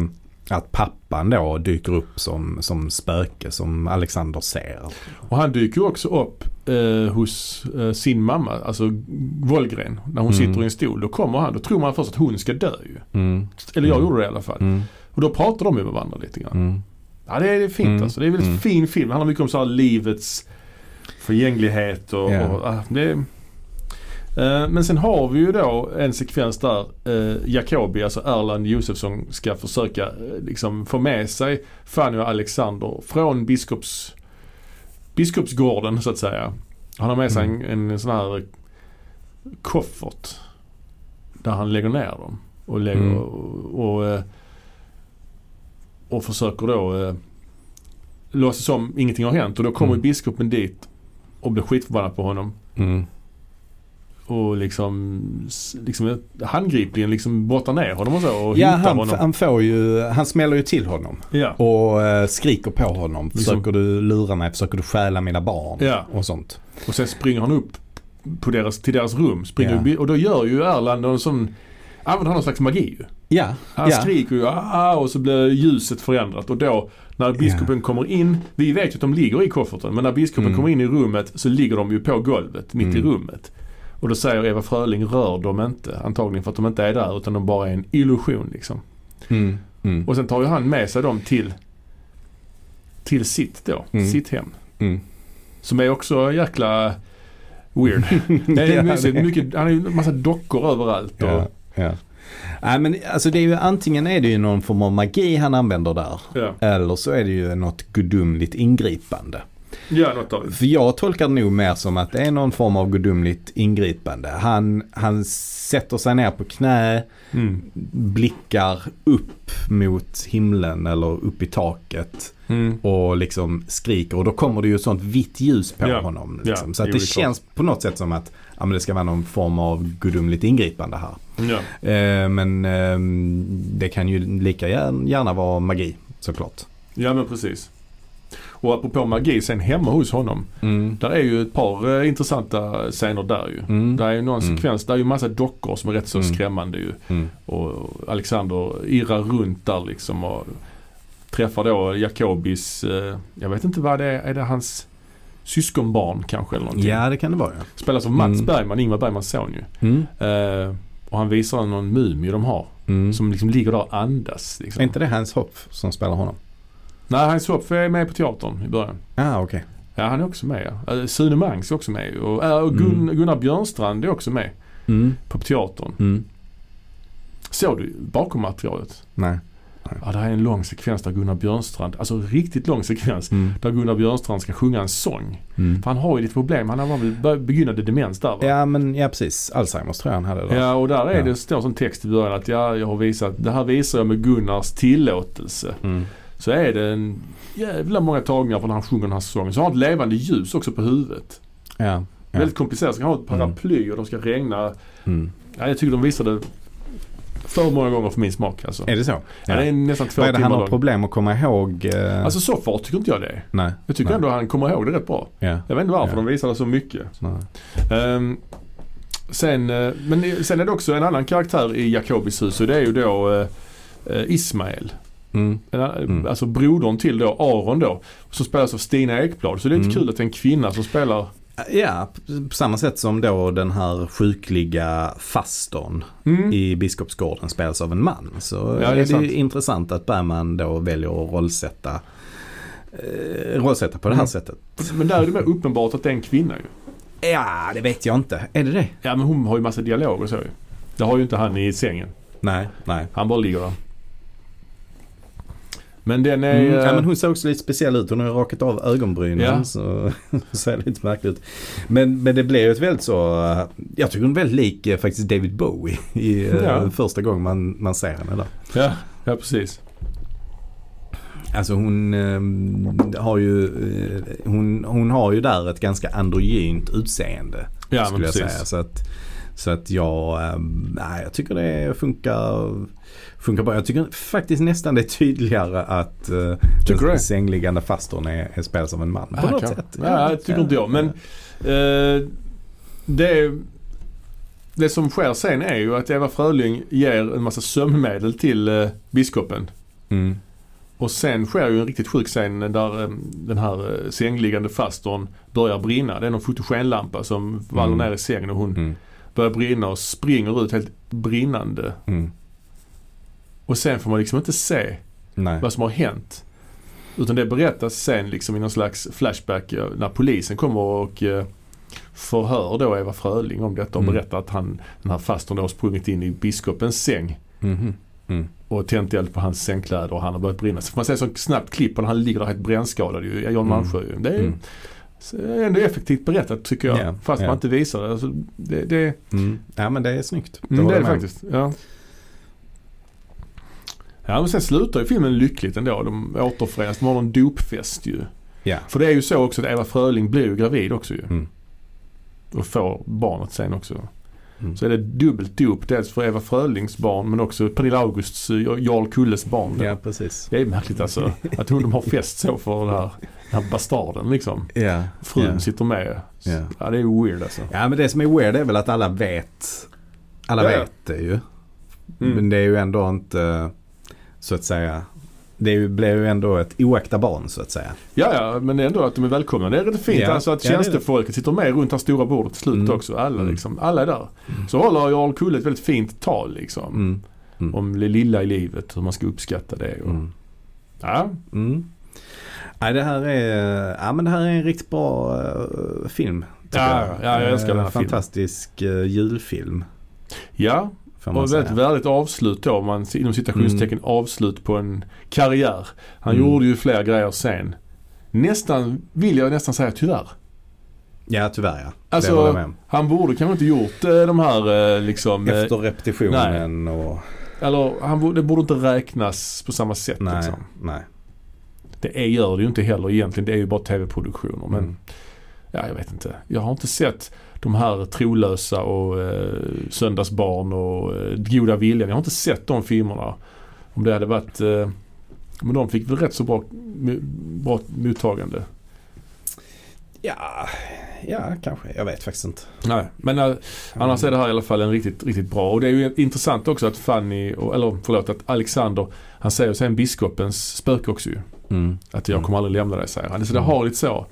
Speaker 2: att pappan då dyker upp som, som spöke som Alexander ser.
Speaker 1: Och han dyker ju också upp eh, hos eh, sin mamma, alltså Wollgren. När hon
Speaker 2: Mm.
Speaker 1: sitter i en stol. Då kommer han. Då tror man först att hon ska dö ju. Eller jag
Speaker 2: Mm.
Speaker 1: gjorde det i alla fall.
Speaker 2: Mm.
Speaker 1: Och då pratar de ju med varandra lite grann.
Speaker 2: Mm.
Speaker 1: Ja, det är det är fint
Speaker 2: Mm.
Speaker 1: alltså. Det är en väldigt
Speaker 2: Mm.
Speaker 1: fin film. Det handlar mycket om så här livets förgänglighet och,
Speaker 2: Ja.
Speaker 1: och ah, det är, Eh, men sen har vi ju då en sekvens där eh, Jacobi, alltså Erland Josefsson, ska försöka eh, liksom få med sig Fanny och Alexander från biskops, biskopsgården så att säga. Han har med sig
Speaker 2: Mm.
Speaker 1: en, en sån här koffert där han lägger ner dem och, lägger,
Speaker 2: Mm.
Speaker 1: och, och, eh, och försöker då eh, låtsas som ingenting har hänt. Och då kommer
Speaker 2: Mm.
Speaker 1: biskopen dit och blir skitförbannad på honom.
Speaker 2: Mm.
Speaker 1: Och liksom, s- liksom handgripligen liksom brottar ner honom och så och
Speaker 2: Ja,
Speaker 1: hotar
Speaker 2: han,
Speaker 1: honom.
Speaker 2: han får ju, han smäller ju till honom.
Speaker 1: ja.
Speaker 2: Och eh, skriker på honom.
Speaker 1: Liksom-
Speaker 2: Försöker du lura mig? Försöker du stjäla mina barn?
Speaker 1: Ja.
Speaker 2: Och sånt.
Speaker 1: Och sen springer han upp på deras, till deras rum. Springer
Speaker 2: Ja.
Speaker 1: upp i- Och då gör ju Erland en sån, använder han någon slags magi ju.
Speaker 2: Ja,
Speaker 1: Han
Speaker 2: ja.
Speaker 1: skriker ju ah, och så blir ljuset förändrat och då när biskopen kommer in, vi vet ju att de ligger i kofferten, men när biskopen
Speaker 2: Mm.
Speaker 1: kommer in i rummet så ligger de ju på golvet mitt i
Speaker 2: Mm.
Speaker 1: rummet. Och då säger Eva Fröling, rör dem inte. Antagligen för att de inte är där utan de bara är en illusion liksom.
Speaker 2: Mm. Mm.
Speaker 1: Och sen tar ju han med sig dem till, till sitt då,
Speaker 2: Mm.
Speaker 1: sitt hem.
Speaker 2: Mm.
Speaker 1: Som är också jäkla weird. Det är
Speaker 2: Ja,
Speaker 1: mysigt.
Speaker 2: det-
Speaker 1: Mycket, han har ju en massa dockor överallt. Och,
Speaker 2: Ja, ja. Nej, men alltså det är ju antingen är det ju någon form av magi han använder där.
Speaker 1: ja.
Speaker 2: Eller så är det ju något gudomligt ingripande.
Speaker 1: ja, något av det.
Speaker 2: För jag tolkar det nog mer som att det är någon form av gudomligt ingripande. Han, han sätter sig ner på knä,
Speaker 1: Mm.
Speaker 2: blickar upp mot himlen eller upp i taket.
Speaker 1: Mm.
Speaker 2: och liksom skriker och då kommer det ju sånt vitt ljus på
Speaker 1: Ja.
Speaker 2: honom.
Speaker 1: Ja,
Speaker 2: Liksom. Så
Speaker 1: det
Speaker 2: att det
Speaker 1: gjorde det klart.
Speaker 2: känns på något sätt som att ja, men det ska vara någon form av gudomligt ingripande här.
Speaker 1: Ja.
Speaker 2: Eh, men ehm, det kan ju lika gär- gärna vara magi såklart.
Speaker 1: Ja men precis. Och apropå magi, sen hemma hos honom.
Speaker 2: Mm.
Speaker 1: Där är ju ett par eh, intressanta scener där ju.
Speaker 2: Mm.
Speaker 1: Där är ju någon
Speaker 2: Mm.
Speaker 1: sekvens, där är ju massa dockor som är rätt så
Speaker 2: Mm.
Speaker 1: skrämmande ju.
Speaker 2: Mm.
Speaker 1: Och Alexander irrar runt där liksom och träffar då Jakobis, eh, jag vet inte vad det är, är det hans syskonbarn kanske eller någonting?
Speaker 2: Ja det kan det vara ja.
Speaker 1: Spelas av Mats
Speaker 2: Mm.
Speaker 1: Bergman, Ingmar Bergmans son ju.
Speaker 2: Mm.
Speaker 1: Eh, och han visar någon mumie de har
Speaker 2: Mm.
Speaker 1: som liksom ligger där och andas.
Speaker 2: Är
Speaker 1: Liksom.
Speaker 2: inte det Hans Hopf som spelar honom?
Speaker 1: Nej, Hans Hopf är med på teatern i början.
Speaker 2: Ah, okej.
Speaker 1: Ja, han är också med. ja. Eh, Sune Mangs är också med. Och, eh, och Gun, Gunnar Björnstrand är också med
Speaker 2: Mm.
Speaker 1: på teatern.
Speaker 2: Mm.
Speaker 1: Såg du bakom materialet?
Speaker 2: Nej.
Speaker 1: Ja, det här är en lång sekvens där Gunnar Björnstrand, alltså riktigt lång sekvens,
Speaker 2: Mm.
Speaker 1: där Gunnar Björnstrand ska sjunga en sång.
Speaker 2: Mm.
Speaker 1: För han har ju lite problem. Han har väl bör- begynnande demens där va?
Speaker 2: Ja men ja precis. Alzheimers tror jag han hade då.
Speaker 1: Ja, och där är
Speaker 2: Ja.
Speaker 1: det står som text i början att ja, jag har visat, det här visar jag med Gunnars tillåtelse.
Speaker 2: Mm.
Speaker 1: Så är det en jävla många tagningar från när han sjunger den här sången. Så har han ett levande ljus också på huvudet.
Speaker 2: Ja. Ja.
Speaker 1: Väldigt komplicerat. Så han har ett paraply och de ska regna
Speaker 2: Mm.
Speaker 1: Ja, jag tycker de visade för många gånger för min smak alltså.
Speaker 2: Är det så?
Speaker 1: Ja, det är nästan två
Speaker 2: Vad är det
Speaker 1: timmar
Speaker 2: han har
Speaker 1: lång.
Speaker 2: problem att komma ihåg? eh,
Speaker 1: Alltså så far tycker inte jag det är.
Speaker 2: Nej.
Speaker 1: Jag tycker
Speaker 2: nej.
Speaker 1: ändå han kommer ihåg det rätt bra.
Speaker 2: Ja.
Speaker 1: Jag vet inte varför
Speaker 2: Ja.
Speaker 1: de visade så mycket.
Speaker 2: Nej.
Speaker 1: Ehm, sen, eh, men sen är det också en annan karaktär i Jakobis hus och det är ju då eh, eh, Ismael.
Speaker 2: Mm.
Speaker 1: En- Alltså brodern till då, Aron då. Som spelas av Stina Ekblad. Så det är lite
Speaker 2: Mm.
Speaker 1: kul att det är en kvinna som spelar.
Speaker 2: Ja, p- på samma sätt som då den här sjukliga faston
Speaker 1: Mm.
Speaker 2: i Biskopsgården spelas av en man. Så
Speaker 1: det är
Speaker 2: är det
Speaker 1: sant.
Speaker 2: ju intressant att Bergman då väljer att rollsätta, eh, rollsätta på det här
Speaker 1: Mm.
Speaker 2: sättet.
Speaker 1: Men där är det mer uppenbart att det är en kvinna ju.
Speaker 2: Ja, det vet jag inte. Är det det?
Speaker 1: Ja men hon har ju massa dialoger och så ju. Det har ju inte han i sängen.
Speaker 2: Nej, nej.
Speaker 1: Han bara ligger där. Men den är...
Speaker 2: Mm. Ja,
Speaker 1: eh,
Speaker 2: men hon såg så lite speciell ut. Hon har ju rakat av ögonbrynen.
Speaker 1: Ja.
Speaker 2: Så så ser det lite märkligt ut. Men, men det blev ju ett väldigt så... eh, Jag tycker hon är väldigt lik eh, faktiskt David Bowie. I, eh,
Speaker 1: Ja.
Speaker 2: Första gången man, man ser henne där.
Speaker 1: ja, ja precis.
Speaker 2: Alltså hon eh, har ju... eh, Hon, hon har ju där ett ganska androgynt utseende.
Speaker 1: Ja men
Speaker 2: skulle jag
Speaker 1: precis.
Speaker 2: säga. Så att, så att jag... eh, Nej, jag tycker det funkar... Funkar bra. Jag tycker faktiskt nästan det är tydligare att eh,
Speaker 1: Tycker du det?
Speaker 2: den sängliggande fastorn är, är spelas av en man. På
Speaker 1: Ja,
Speaker 2: något
Speaker 1: kan-
Speaker 2: sätt.
Speaker 1: Ja, det tycker inte jag. Men eh, det, det som sker sen är ju att Eva Fröling ger en massa sömnmedel till eh, biskopen.
Speaker 2: Mm.
Speaker 1: Och sen sker ju en riktigt sjuk scen där eh, den här eh, sängliggande fastorn börjar brinna. Det är någon fotogenlampa som faller
Speaker 2: Mm.
Speaker 1: ner i sängen och hon
Speaker 2: Mm.
Speaker 1: börjar brinna och springer ut helt brinnande.
Speaker 2: Mm.
Speaker 1: Och sen får man liksom inte se
Speaker 2: Nej.
Speaker 1: vad som har hänt. Utan det berättas sen liksom i någon slags flashback eh, när polisen kommer och eh, förhör då Eva Fröling om detta och
Speaker 2: Mm.
Speaker 1: berättar att han, den här fastorn då har sprungit in i biskopens säng
Speaker 2: Mhm. Mm.
Speaker 1: och tänt eld på hans sängkläder och han har börjat brinna. Så får man se så snabbt klipp på när han ligger där helt brännskadad ju, Jan
Speaker 2: Mm.
Speaker 1: Malmsjö ju. Det är
Speaker 2: Mm.
Speaker 1: så är ändå effektivt berättat tycker jag.
Speaker 2: Ja,
Speaker 1: Fast
Speaker 2: ja.
Speaker 1: man inte visar det. Alltså, det, det,
Speaker 2: Mm. Ja men det är snyggt.
Speaker 1: mm, det
Speaker 2: håller
Speaker 1: är det
Speaker 2: jag med om.
Speaker 1: faktiskt. Ja. Ja men sen slutar ju filmen lyckligt ändå. De återförenas. De har någon dopfest ju.
Speaker 2: Ja.
Speaker 1: För det är ju så också att Eva Fröling blir ju gravid också ju.
Speaker 2: Mm.
Speaker 1: Och får barnet sen också.
Speaker 2: Mm.
Speaker 1: Så är det dubbelt dop. Dels för Eva Frölings barn men också Pernilla Augusts, eh, Jarl Kulles barn.
Speaker 2: Ja precis.
Speaker 1: Det är märkligt alltså. Att hon, de har fest så för den här, den här bastarden liksom.
Speaker 2: Ja.
Speaker 1: Frun
Speaker 2: Ja.
Speaker 1: sitter med.
Speaker 2: Ja.
Speaker 1: Ja det är ju weird alltså.
Speaker 2: ja men det som är weird är väl att alla vet. Alla
Speaker 1: Ja, ja.
Speaker 2: vet det ju.
Speaker 1: Mm.
Speaker 2: Men det är ju ändå inte så att säga. Det är ju- blev ju ändå ett oäkta barn så att säga.
Speaker 1: Ja, ja, men ändå att de är välkomna. Det är rätt fint
Speaker 2: Ja.
Speaker 1: alltså att
Speaker 2: Ja, det är det.
Speaker 1: tjänstefolket sitter med runt det här stora bordet till slut
Speaker 2: Mm.
Speaker 1: också. Alla,
Speaker 2: Mm.
Speaker 1: liksom, alla är där. Så håller Jarl Kulle ett väldigt fint tal liksom.
Speaker 2: Mm.
Speaker 1: Om det lilla i livet, hur man ska uppskatta det. Och,
Speaker 2: Mm.
Speaker 1: Ja,
Speaker 2: Mm. Nej, det här är, ja, men det här är en riktigt bra eh, film. tycker
Speaker 1: Ja,
Speaker 2: jag.
Speaker 1: ja, jag älskar den här
Speaker 2: Eh,
Speaker 1: filmen.
Speaker 2: Fantastisk eh, julfilm.
Speaker 1: ja.
Speaker 2: Får man
Speaker 1: och
Speaker 2: säga.
Speaker 1: väldigt värdigt avslut då. om Man, inom citationstecken avslut på en karriär. Han
Speaker 2: Mm.
Speaker 1: gjorde ju fler grejer sen. Nästan, vill jag nästan säga tyvärr.
Speaker 2: Ja, tyvärr ja.
Speaker 1: Alltså,
Speaker 2: det håller jag med om.
Speaker 1: Han borde kanske inte gjort eh, de här eh, liksom... eh,
Speaker 2: Efter repetitionen och...
Speaker 1: Eller han, borde- det borde inte räknas på samma sätt
Speaker 2: Nej,
Speaker 1: liksom.
Speaker 2: nej.
Speaker 1: Det är, gör det ju inte heller egentligen. Det är ju bara tv-produktioner. Men
Speaker 2: Mm.
Speaker 1: ja, jag vet inte. Jag har inte sett de här Trolösa och eh, Söndagsbarn och eh, Goda viljan. Jag har inte sett de filmerna. Om det hade varit... Eh, men de fick väl rätt så bra, mu- bra mottagande.
Speaker 2: Ja, ja, kanske. Jag vet faktiskt inte.
Speaker 1: Nej, men eh, annars är det här i alla fall en riktigt, riktigt bra. Och det är ju intressant också att Fanny, och, eller förlåt, att Alexander, han säger sen biskopens spöke också ju.
Speaker 2: Mm.
Speaker 1: Att jag kommer aldrig lämna dig, säger han. Så det har lite så.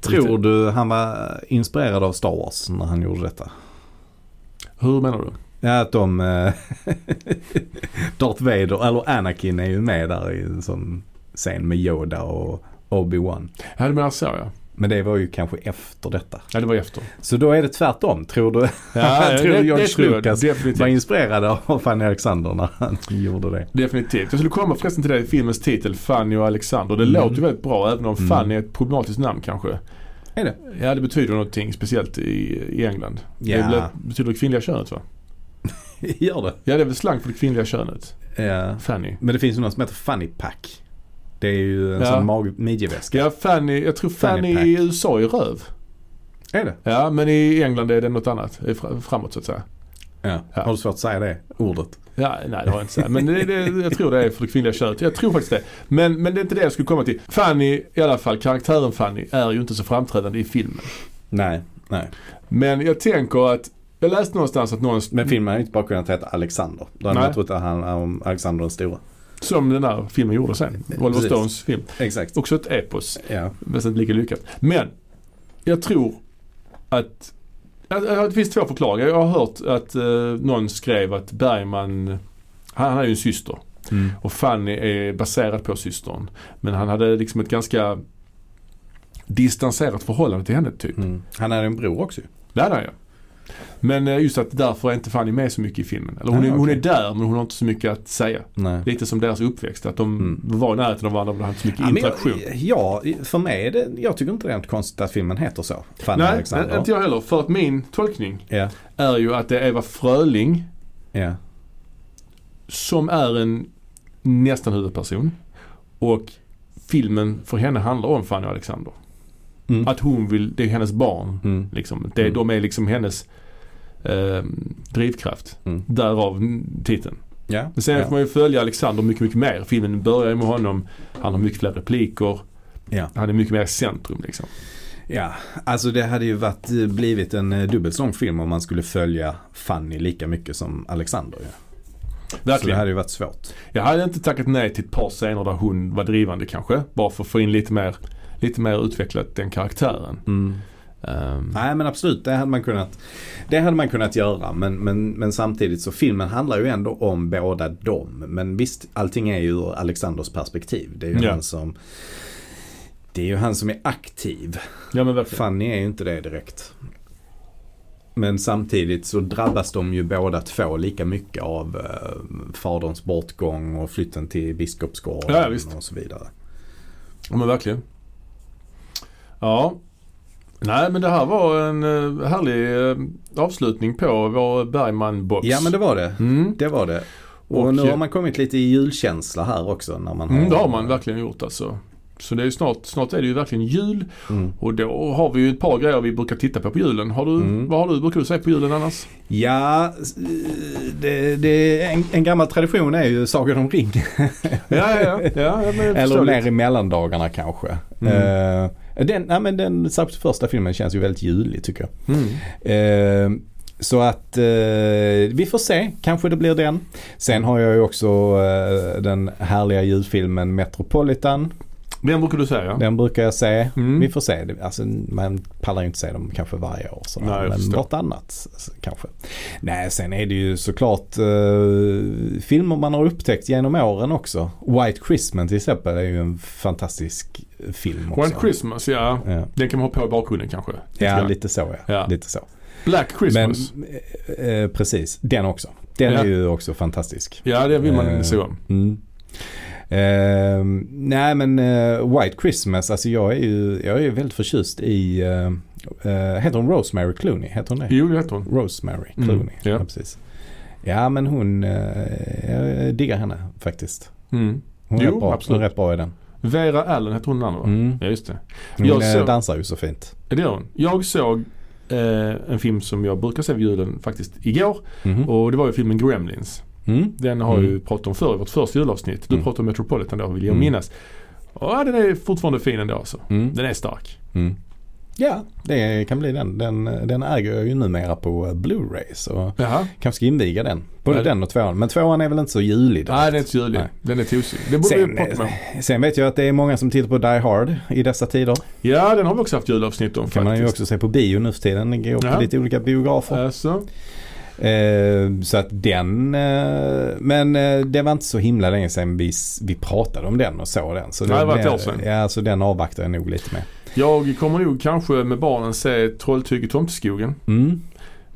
Speaker 2: Tror du han var inspirerad av Star Wars när han gjorde detta?
Speaker 1: Hur menar du?
Speaker 2: Ja, att de... eh, Darth Vader, eller Anakin är ju med där i en sån scen med Yoda och Obi-Wan.
Speaker 1: Ja, du menar så ja.
Speaker 2: Men det var ju kanske efter detta.
Speaker 1: Ja, det var efter.
Speaker 2: Så då är det tvärtom. Tror du
Speaker 1: Ja,
Speaker 2: tror George
Speaker 1: tror
Speaker 2: Lucas var
Speaker 1: definitivt.
Speaker 2: inspirerad av Fanny Alexander när han gjorde det?
Speaker 1: Definitivt. Jag skulle komma förresten till det i filmens titel, Fanny och Alexander. Det
Speaker 2: Mm.
Speaker 1: låter ju väldigt bra även om
Speaker 2: Mm.
Speaker 1: Fanny är ett problematiskt namn kanske.
Speaker 2: Är det?
Speaker 1: Ja, det betyder någonting speciellt i, i England. Det är väl,
Speaker 2: Ja.
Speaker 1: ett- betyder det kvinnliga könet va?
Speaker 2: Gör det?
Speaker 1: Ja, det är väl slang för det kvinnliga könet.
Speaker 2: Ja.
Speaker 1: Fanny.
Speaker 2: Men det finns ju något som heter Funny Pack. Det är ju en
Speaker 1: Ja.
Speaker 2: sån mag- midjeväska.
Speaker 1: Ja, Fanny. Jag tror Fanny,
Speaker 2: Fanny pack.
Speaker 1: i USA är röv.
Speaker 2: Är det?
Speaker 1: Ja, men i England är det något annat. Det är fra- Framåt så att säga.
Speaker 2: Ja.
Speaker 1: Ja.
Speaker 2: Har du svårt att säga det ordet?
Speaker 1: Ja, nej det har jag inte sagt. Men det, det, jag tror det är för det kvinnliga könet. Jag tror faktiskt det. Men, men det är inte det jag skulle komma till. Fanny, i alla fall karaktären Fanny, är ju inte så framträdande i filmen.
Speaker 2: Nej. Nej.
Speaker 1: Men jag tänker att Jag läste någonstans att någon,
Speaker 2: Men filmen hade inte bara kunnat heta Alexander. Då hade
Speaker 1: Mm. Nej.
Speaker 2: man trott att han om Alexander den stora.
Speaker 1: som den där filmen gjorde sen, Oliver
Speaker 2: Precis.
Speaker 1: Stones film.
Speaker 2: Exakt.
Speaker 1: Också ett epos.
Speaker 2: Ja.
Speaker 1: Nästan inte lika lyckat. Men jag tror att att- att det finns två förklaringar. Jag har hört att eh, någon skrev att Bergman, han har ju en syster
Speaker 2: Mm.
Speaker 1: och Fanny är baserad på systern. Men han hade liksom ett ganska distanserat förhållande till henne typ.
Speaker 2: Mm. Han hade en bror också ju.
Speaker 1: Det hade han ju. Men eh, just att därför är inte Fanny med så mycket i filmen. Eller hon,
Speaker 2: Ah,
Speaker 1: är, hon är
Speaker 2: okej.
Speaker 1: där men hon har inte så mycket att säga.
Speaker 2: Nej.
Speaker 1: Lite som deras uppväxt, att de
Speaker 2: Mm.
Speaker 1: var i närheten av varandra men de hade inte så mycket
Speaker 2: Ja, men
Speaker 1: interaktion.
Speaker 2: jag, ja, för mig är det, jag tycker inte det är något konstigt att filmen heter så. Fanny
Speaker 1: Nej,
Speaker 2: Alexander.
Speaker 1: inte jag heller. För att min tolkning
Speaker 2: Ja,
Speaker 1: är ju att det är Eva Fröling
Speaker 2: ja.
Speaker 1: som är en nästan huvudperson. Och filmen för henne handlar om Fanny och Alexander.
Speaker 2: Mm.
Speaker 1: Att hon vill, det är hennes barn.
Speaker 2: Mm.
Speaker 1: Liksom. Det,
Speaker 2: Mm.
Speaker 1: De är liksom hennes eh, drivkraft.
Speaker 2: Mm.
Speaker 1: Därav n- titeln.
Speaker 2: Ja.
Speaker 1: Men sen
Speaker 2: ja.
Speaker 1: får man ju följa Alexander mycket, mycket mer. Filmen börjar ju med honom. Han har mycket fler repliker.
Speaker 2: Ja.
Speaker 1: Han är mycket mer i centrum liksom.
Speaker 2: ja, alltså det hade ju varit, blivit en eh, dubbelt så lång film om man skulle följa Fanny lika mycket som Alexander. ju. Så det
Speaker 1: Verkligen.
Speaker 2: hade ju varit svårt.
Speaker 1: Jag hade inte tackat nej till ett par scener där hon var drivande kanske. Bara för att få in lite mer, lite mer utvecklat den karaktären.
Speaker 2: Mm.
Speaker 1: Ehm,
Speaker 2: Nej men absolut, det hade man kunnat, det hade man kunnat göra. Men, men, men samtidigt så filmen handlar ju ändå om båda dem. Men visst, allting är ju ur Alexanders perspektiv. Det är ju
Speaker 1: Ja.
Speaker 2: han som det är ju han som är aktiv.
Speaker 1: ja men verkligen.
Speaker 2: Fanny är ju inte det direkt. Men samtidigt så drabbas de ju båda två lika mycket av eh, faderns bortgång och flytten till Biskopsgården
Speaker 1: Ja, ja, visst.
Speaker 2: och så vidare.
Speaker 1: Ja men verkligen. Ja. Nej men det här var en eh, härlig eh, avslutning på vår Bergman-box.
Speaker 2: Ja men det var det.
Speaker 1: Mm.
Speaker 2: Det var det. Och,
Speaker 1: Och,
Speaker 2: nu
Speaker 1: eh,
Speaker 2: har man kommit lite i julkänsla här också. När man har,
Speaker 1: Mm, det har man verkligen gjort alltså. Så det är ju snart, snart är det ju verkligen jul
Speaker 2: Mm.
Speaker 1: och då har vi ju ett par grejer vi brukar titta på på julen. Har du,
Speaker 2: Mm.
Speaker 1: Vad har du, brukar du säga på julen annars?
Speaker 2: Ja, s- det, det, en, en gammal tradition är ju Sagan om ringen.
Speaker 1: Ja, ja, ja. ja men jag
Speaker 2: Eller
Speaker 1: förstår det.
Speaker 2: mer i mellandagarna kanske.
Speaker 1: Mm.
Speaker 2: Eh, den, ja, men den särskilt första filmen känns ju väldigt julig tycker jag.
Speaker 1: Mm.
Speaker 2: Eh, så att eh, vi får se, kanske det blir den. Sen har jag ju också eh, den härliga julfilmen Metropolitan.
Speaker 1: Den brukar du säga ja.
Speaker 2: Den brukar jag se.
Speaker 1: Mm.
Speaker 2: Vi får se. Det- Alltså, man pallar ju inte se dem kanske varje år. Sådär.
Speaker 1: Nej, jag
Speaker 2: men
Speaker 1: förstår.
Speaker 2: vartannat alltså, kanske. Nej, sen är det ju såklart eh, filmer man har upptäckt genom åren också. White Christmas till exempel är ju en fantastisk eh, film också.
Speaker 1: One Christmas, ja.
Speaker 2: Ja,
Speaker 1: Den kan man ha på i bakgrunden kanske. Lite
Speaker 2: ja
Speaker 1: grann.
Speaker 2: lite så ja.
Speaker 1: Ja.
Speaker 2: Lite så.
Speaker 1: Black
Speaker 2: Men
Speaker 1: Christmas.
Speaker 2: eh, eh, precis, den också. Den
Speaker 1: Ja.
Speaker 2: är ju också fantastisk.
Speaker 1: ja, det vill man
Speaker 2: Eh,
Speaker 1: se om.
Speaker 2: Mm. Ehm, nej men eh, White Christmas, alltså jag är ju, jag är ju väldigt förtjust i, eh, eh, heter hon Rosemary Clooney? Heter hon det?
Speaker 1: Jo, det heter hon.
Speaker 2: Rosemary
Speaker 1: Mm,
Speaker 2: Clooney,
Speaker 1: ja.
Speaker 2: ja precis. Ja men hon, eh, jag diggar henne faktiskt.
Speaker 1: Mm.
Speaker 2: Hon är,
Speaker 1: Jo,
Speaker 2: rätt bra.
Speaker 1: absolut.
Speaker 2: hon är rätt bra i den.
Speaker 1: Vera Allen heter hon den andra va?
Speaker 2: Mm.
Speaker 1: Ja, just det.
Speaker 2: Hon
Speaker 1: Jag
Speaker 2: eh,
Speaker 1: såg-
Speaker 2: dansar ju så fint.
Speaker 1: Det gör hon. Jag såg eh, en film som jag brukar se vid julen faktiskt igår.
Speaker 2: Mhm.
Speaker 1: Mm. Och det var ju filmen Gremlins.
Speaker 2: Mm.
Speaker 1: Den har
Speaker 2: Mm.
Speaker 1: ju pratat om förr i vårt första julavsnitt. Du
Speaker 2: Mm.
Speaker 1: pratade om Metropolitan då vill jag
Speaker 2: Mm.
Speaker 1: minnas. Och ja, den är fortfarande fin ändå alltså.
Speaker 2: Mm.
Speaker 1: Den är stark.
Speaker 2: Mm. Ja, det kan bli den. Den, den äger jag ju numera på eh, Blu-ray så
Speaker 1: Jaha.
Speaker 2: kanske ska inviga den. Både
Speaker 1: Ja.
Speaker 2: den och tvåan. Men tvåan är väl inte så julig direkt.
Speaker 1: Nej den är inte så julig.
Speaker 2: Nej.
Speaker 1: Den är tosig. Den borde
Speaker 2: Sen,
Speaker 1: vi prata med.
Speaker 2: Sen vet jag att det är många som tittar på Die Hard i dessa tider.
Speaker 1: Ja den har vi också haft julavsnitt om
Speaker 2: kan man ju
Speaker 1: faktiskt.
Speaker 2: också se på bio nu för tiden. Det går på
Speaker 1: Ja.
Speaker 2: lite olika biografer.
Speaker 1: Alltså,
Speaker 2: Eh, så att den, eh, men eh, det var inte så himla länge sedan vi, s- vi pratade om den och såg den. Så
Speaker 1: Nej, det var ett år sedan.
Speaker 2: Ja, så den avvaktar jag nog lite med.
Speaker 1: jag kommer nog kanske med barnen se Trolltyg i Tomteskogen.
Speaker 2: Mm.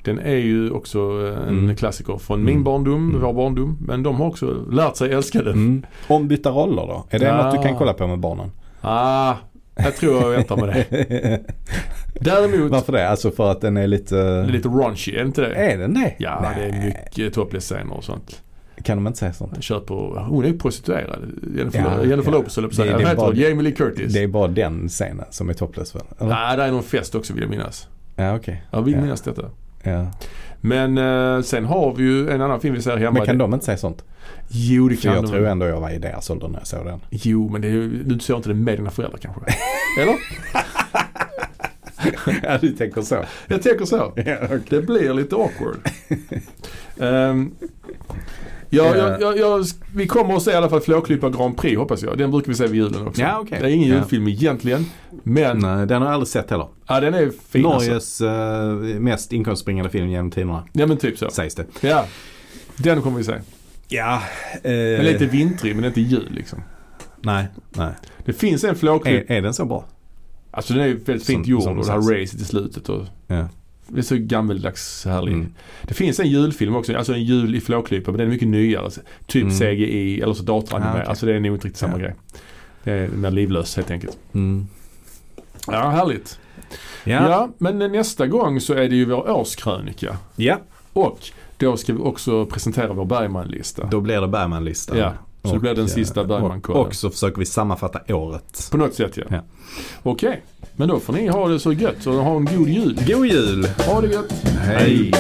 Speaker 1: Den är ju också eh, en
Speaker 2: Mm.
Speaker 1: klassiker från
Speaker 2: Mm.
Speaker 1: min barndom,
Speaker 2: Mm.
Speaker 1: vår barndom. Men de har också lärt sig älska den.
Speaker 2: Mm. Ombytta roller då? Är det
Speaker 1: Ja.
Speaker 2: något du kan kolla på med barnen?
Speaker 1: Ah, jag tror jag väntar med det. Däremot,
Speaker 2: Varför det? Alltså för att den är lite...
Speaker 1: det är lite raunchy, är det inte det?
Speaker 2: Är den det?
Speaker 1: Ja,
Speaker 2: Nej.
Speaker 1: det är mycket topless-scener och sånt.
Speaker 2: Kan de inte säga sånt?
Speaker 1: Han köper, hon är ju prostituerad. Jennifer,
Speaker 2: Ja,
Speaker 1: Jennifer
Speaker 2: ja.
Speaker 1: Lopez höll jag på att säga.
Speaker 2: Det- det
Speaker 1: Vad
Speaker 2: är
Speaker 1: heter
Speaker 2: bara-
Speaker 1: hon? Jamie Lee Curtis.
Speaker 2: Det är bara den scenen som är topless väl? Eller?
Speaker 1: Nej, det är någon fest också vill jag minnas.
Speaker 2: Ja, okej.
Speaker 1: Jag vill
Speaker 2: Ja.
Speaker 1: minnas detta.
Speaker 2: Ja.
Speaker 1: Men eh, sen har vi ju en annan film vi ser hemma.
Speaker 2: Men kan de inte säga sånt?
Speaker 1: Jo, det
Speaker 2: För
Speaker 1: kan
Speaker 2: jag
Speaker 1: de.
Speaker 2: tror ändå jag var i deras ålder när jag såg den.
Speaker 1: Jo, men det är, ju- du ser inte det med dina föräldrar kanske? Eller?
Speaker 2: ja, du tänker så.
Speaker 1: Jag tänker så.
Speaker 2: Ja, okej.
Speaker 1: Det blir lite awkward. Ehm, ja, ja, ja, ja, vi kommer att se i alla fall Flåklippa Grand Prix hoppas jag. Den brukar vi se vid julen också.
Speaker 2: Ja, okej.
Speaker 1: Det är ingen
Speaker 2: Ja.
Speaker 1: julfilm egentligen. Men
Speaker 2: Nej, den har jag aldrig sett heller.
Speaker 1: ja, den är fin alltså.
Speaker 2: Norges eh, mest inkomstbringande film genom tiderna,
Speaker 1: Ja men typ så.
Speaker 2: sägs det.
Speaker 1: Ja. Den kommer vi se.
Speaker 2: Ja.
Speaker 1: Den är lite vintrig men inte jul liksom.
Speaker 2: Nej, nej.
Speaker 1: Det finns en flåklipp.
Speaker 2: Är, är den så bra?
Speaker 1: Alltså den är ju väldigt fint
Speaker 2: Som-
Speaker 1: gjord
Speaker 2: som
Speaker 1: och det här
Speaker 2: sagt.
Speaker 1: racet i slutet. Och
Speaker 2: Ja.
Speaker 1: det är så gammeldags härligt.
Speaker 2: Mm.
Speaker 1: Det finns en julfilm också, alltså en jul i flåklypa men den är mycket nyare. Alltså, typ
Speaker 2: Mm.
Speaker 1: CGI eller så datoranimerad.
Speaker 2: Ah, okej.
Speaker 1: Alltså det är nog inte riktigt samma
Speaker 2: Ja.
Speaker 1: grej. Det är mer livlöst helt enkelt.
Speaker 2: Mm.
Speaker 1: Ja, härligt. Ja.
Speaker 2: Ja.
Speaker 1: men nästa gång så är det ju vår årskrönika.
Speaker 2: ja,
Speaker 1: Och då ska vi också presentera vår Bergman-lista.
Speaker 2: då blir det Bergman-listan.
Speaker 1: Ja, så det
Speaker 2: Och,
Speaker 1: blir den
Speaker 2: eh,
Speaker 1: sista Bergman-kollen.
Speaker 2: och, och så försöker vi sammanfatta året.
Speaker 1: På något sätt ja.
Speaker 2: Ja.
Speaker 1: Okej, men då får ni ha det så gött och ha en god jul.
Speaker 2: God jul!
Speaker 1: Ha det gött!
Speaker 2: Hej.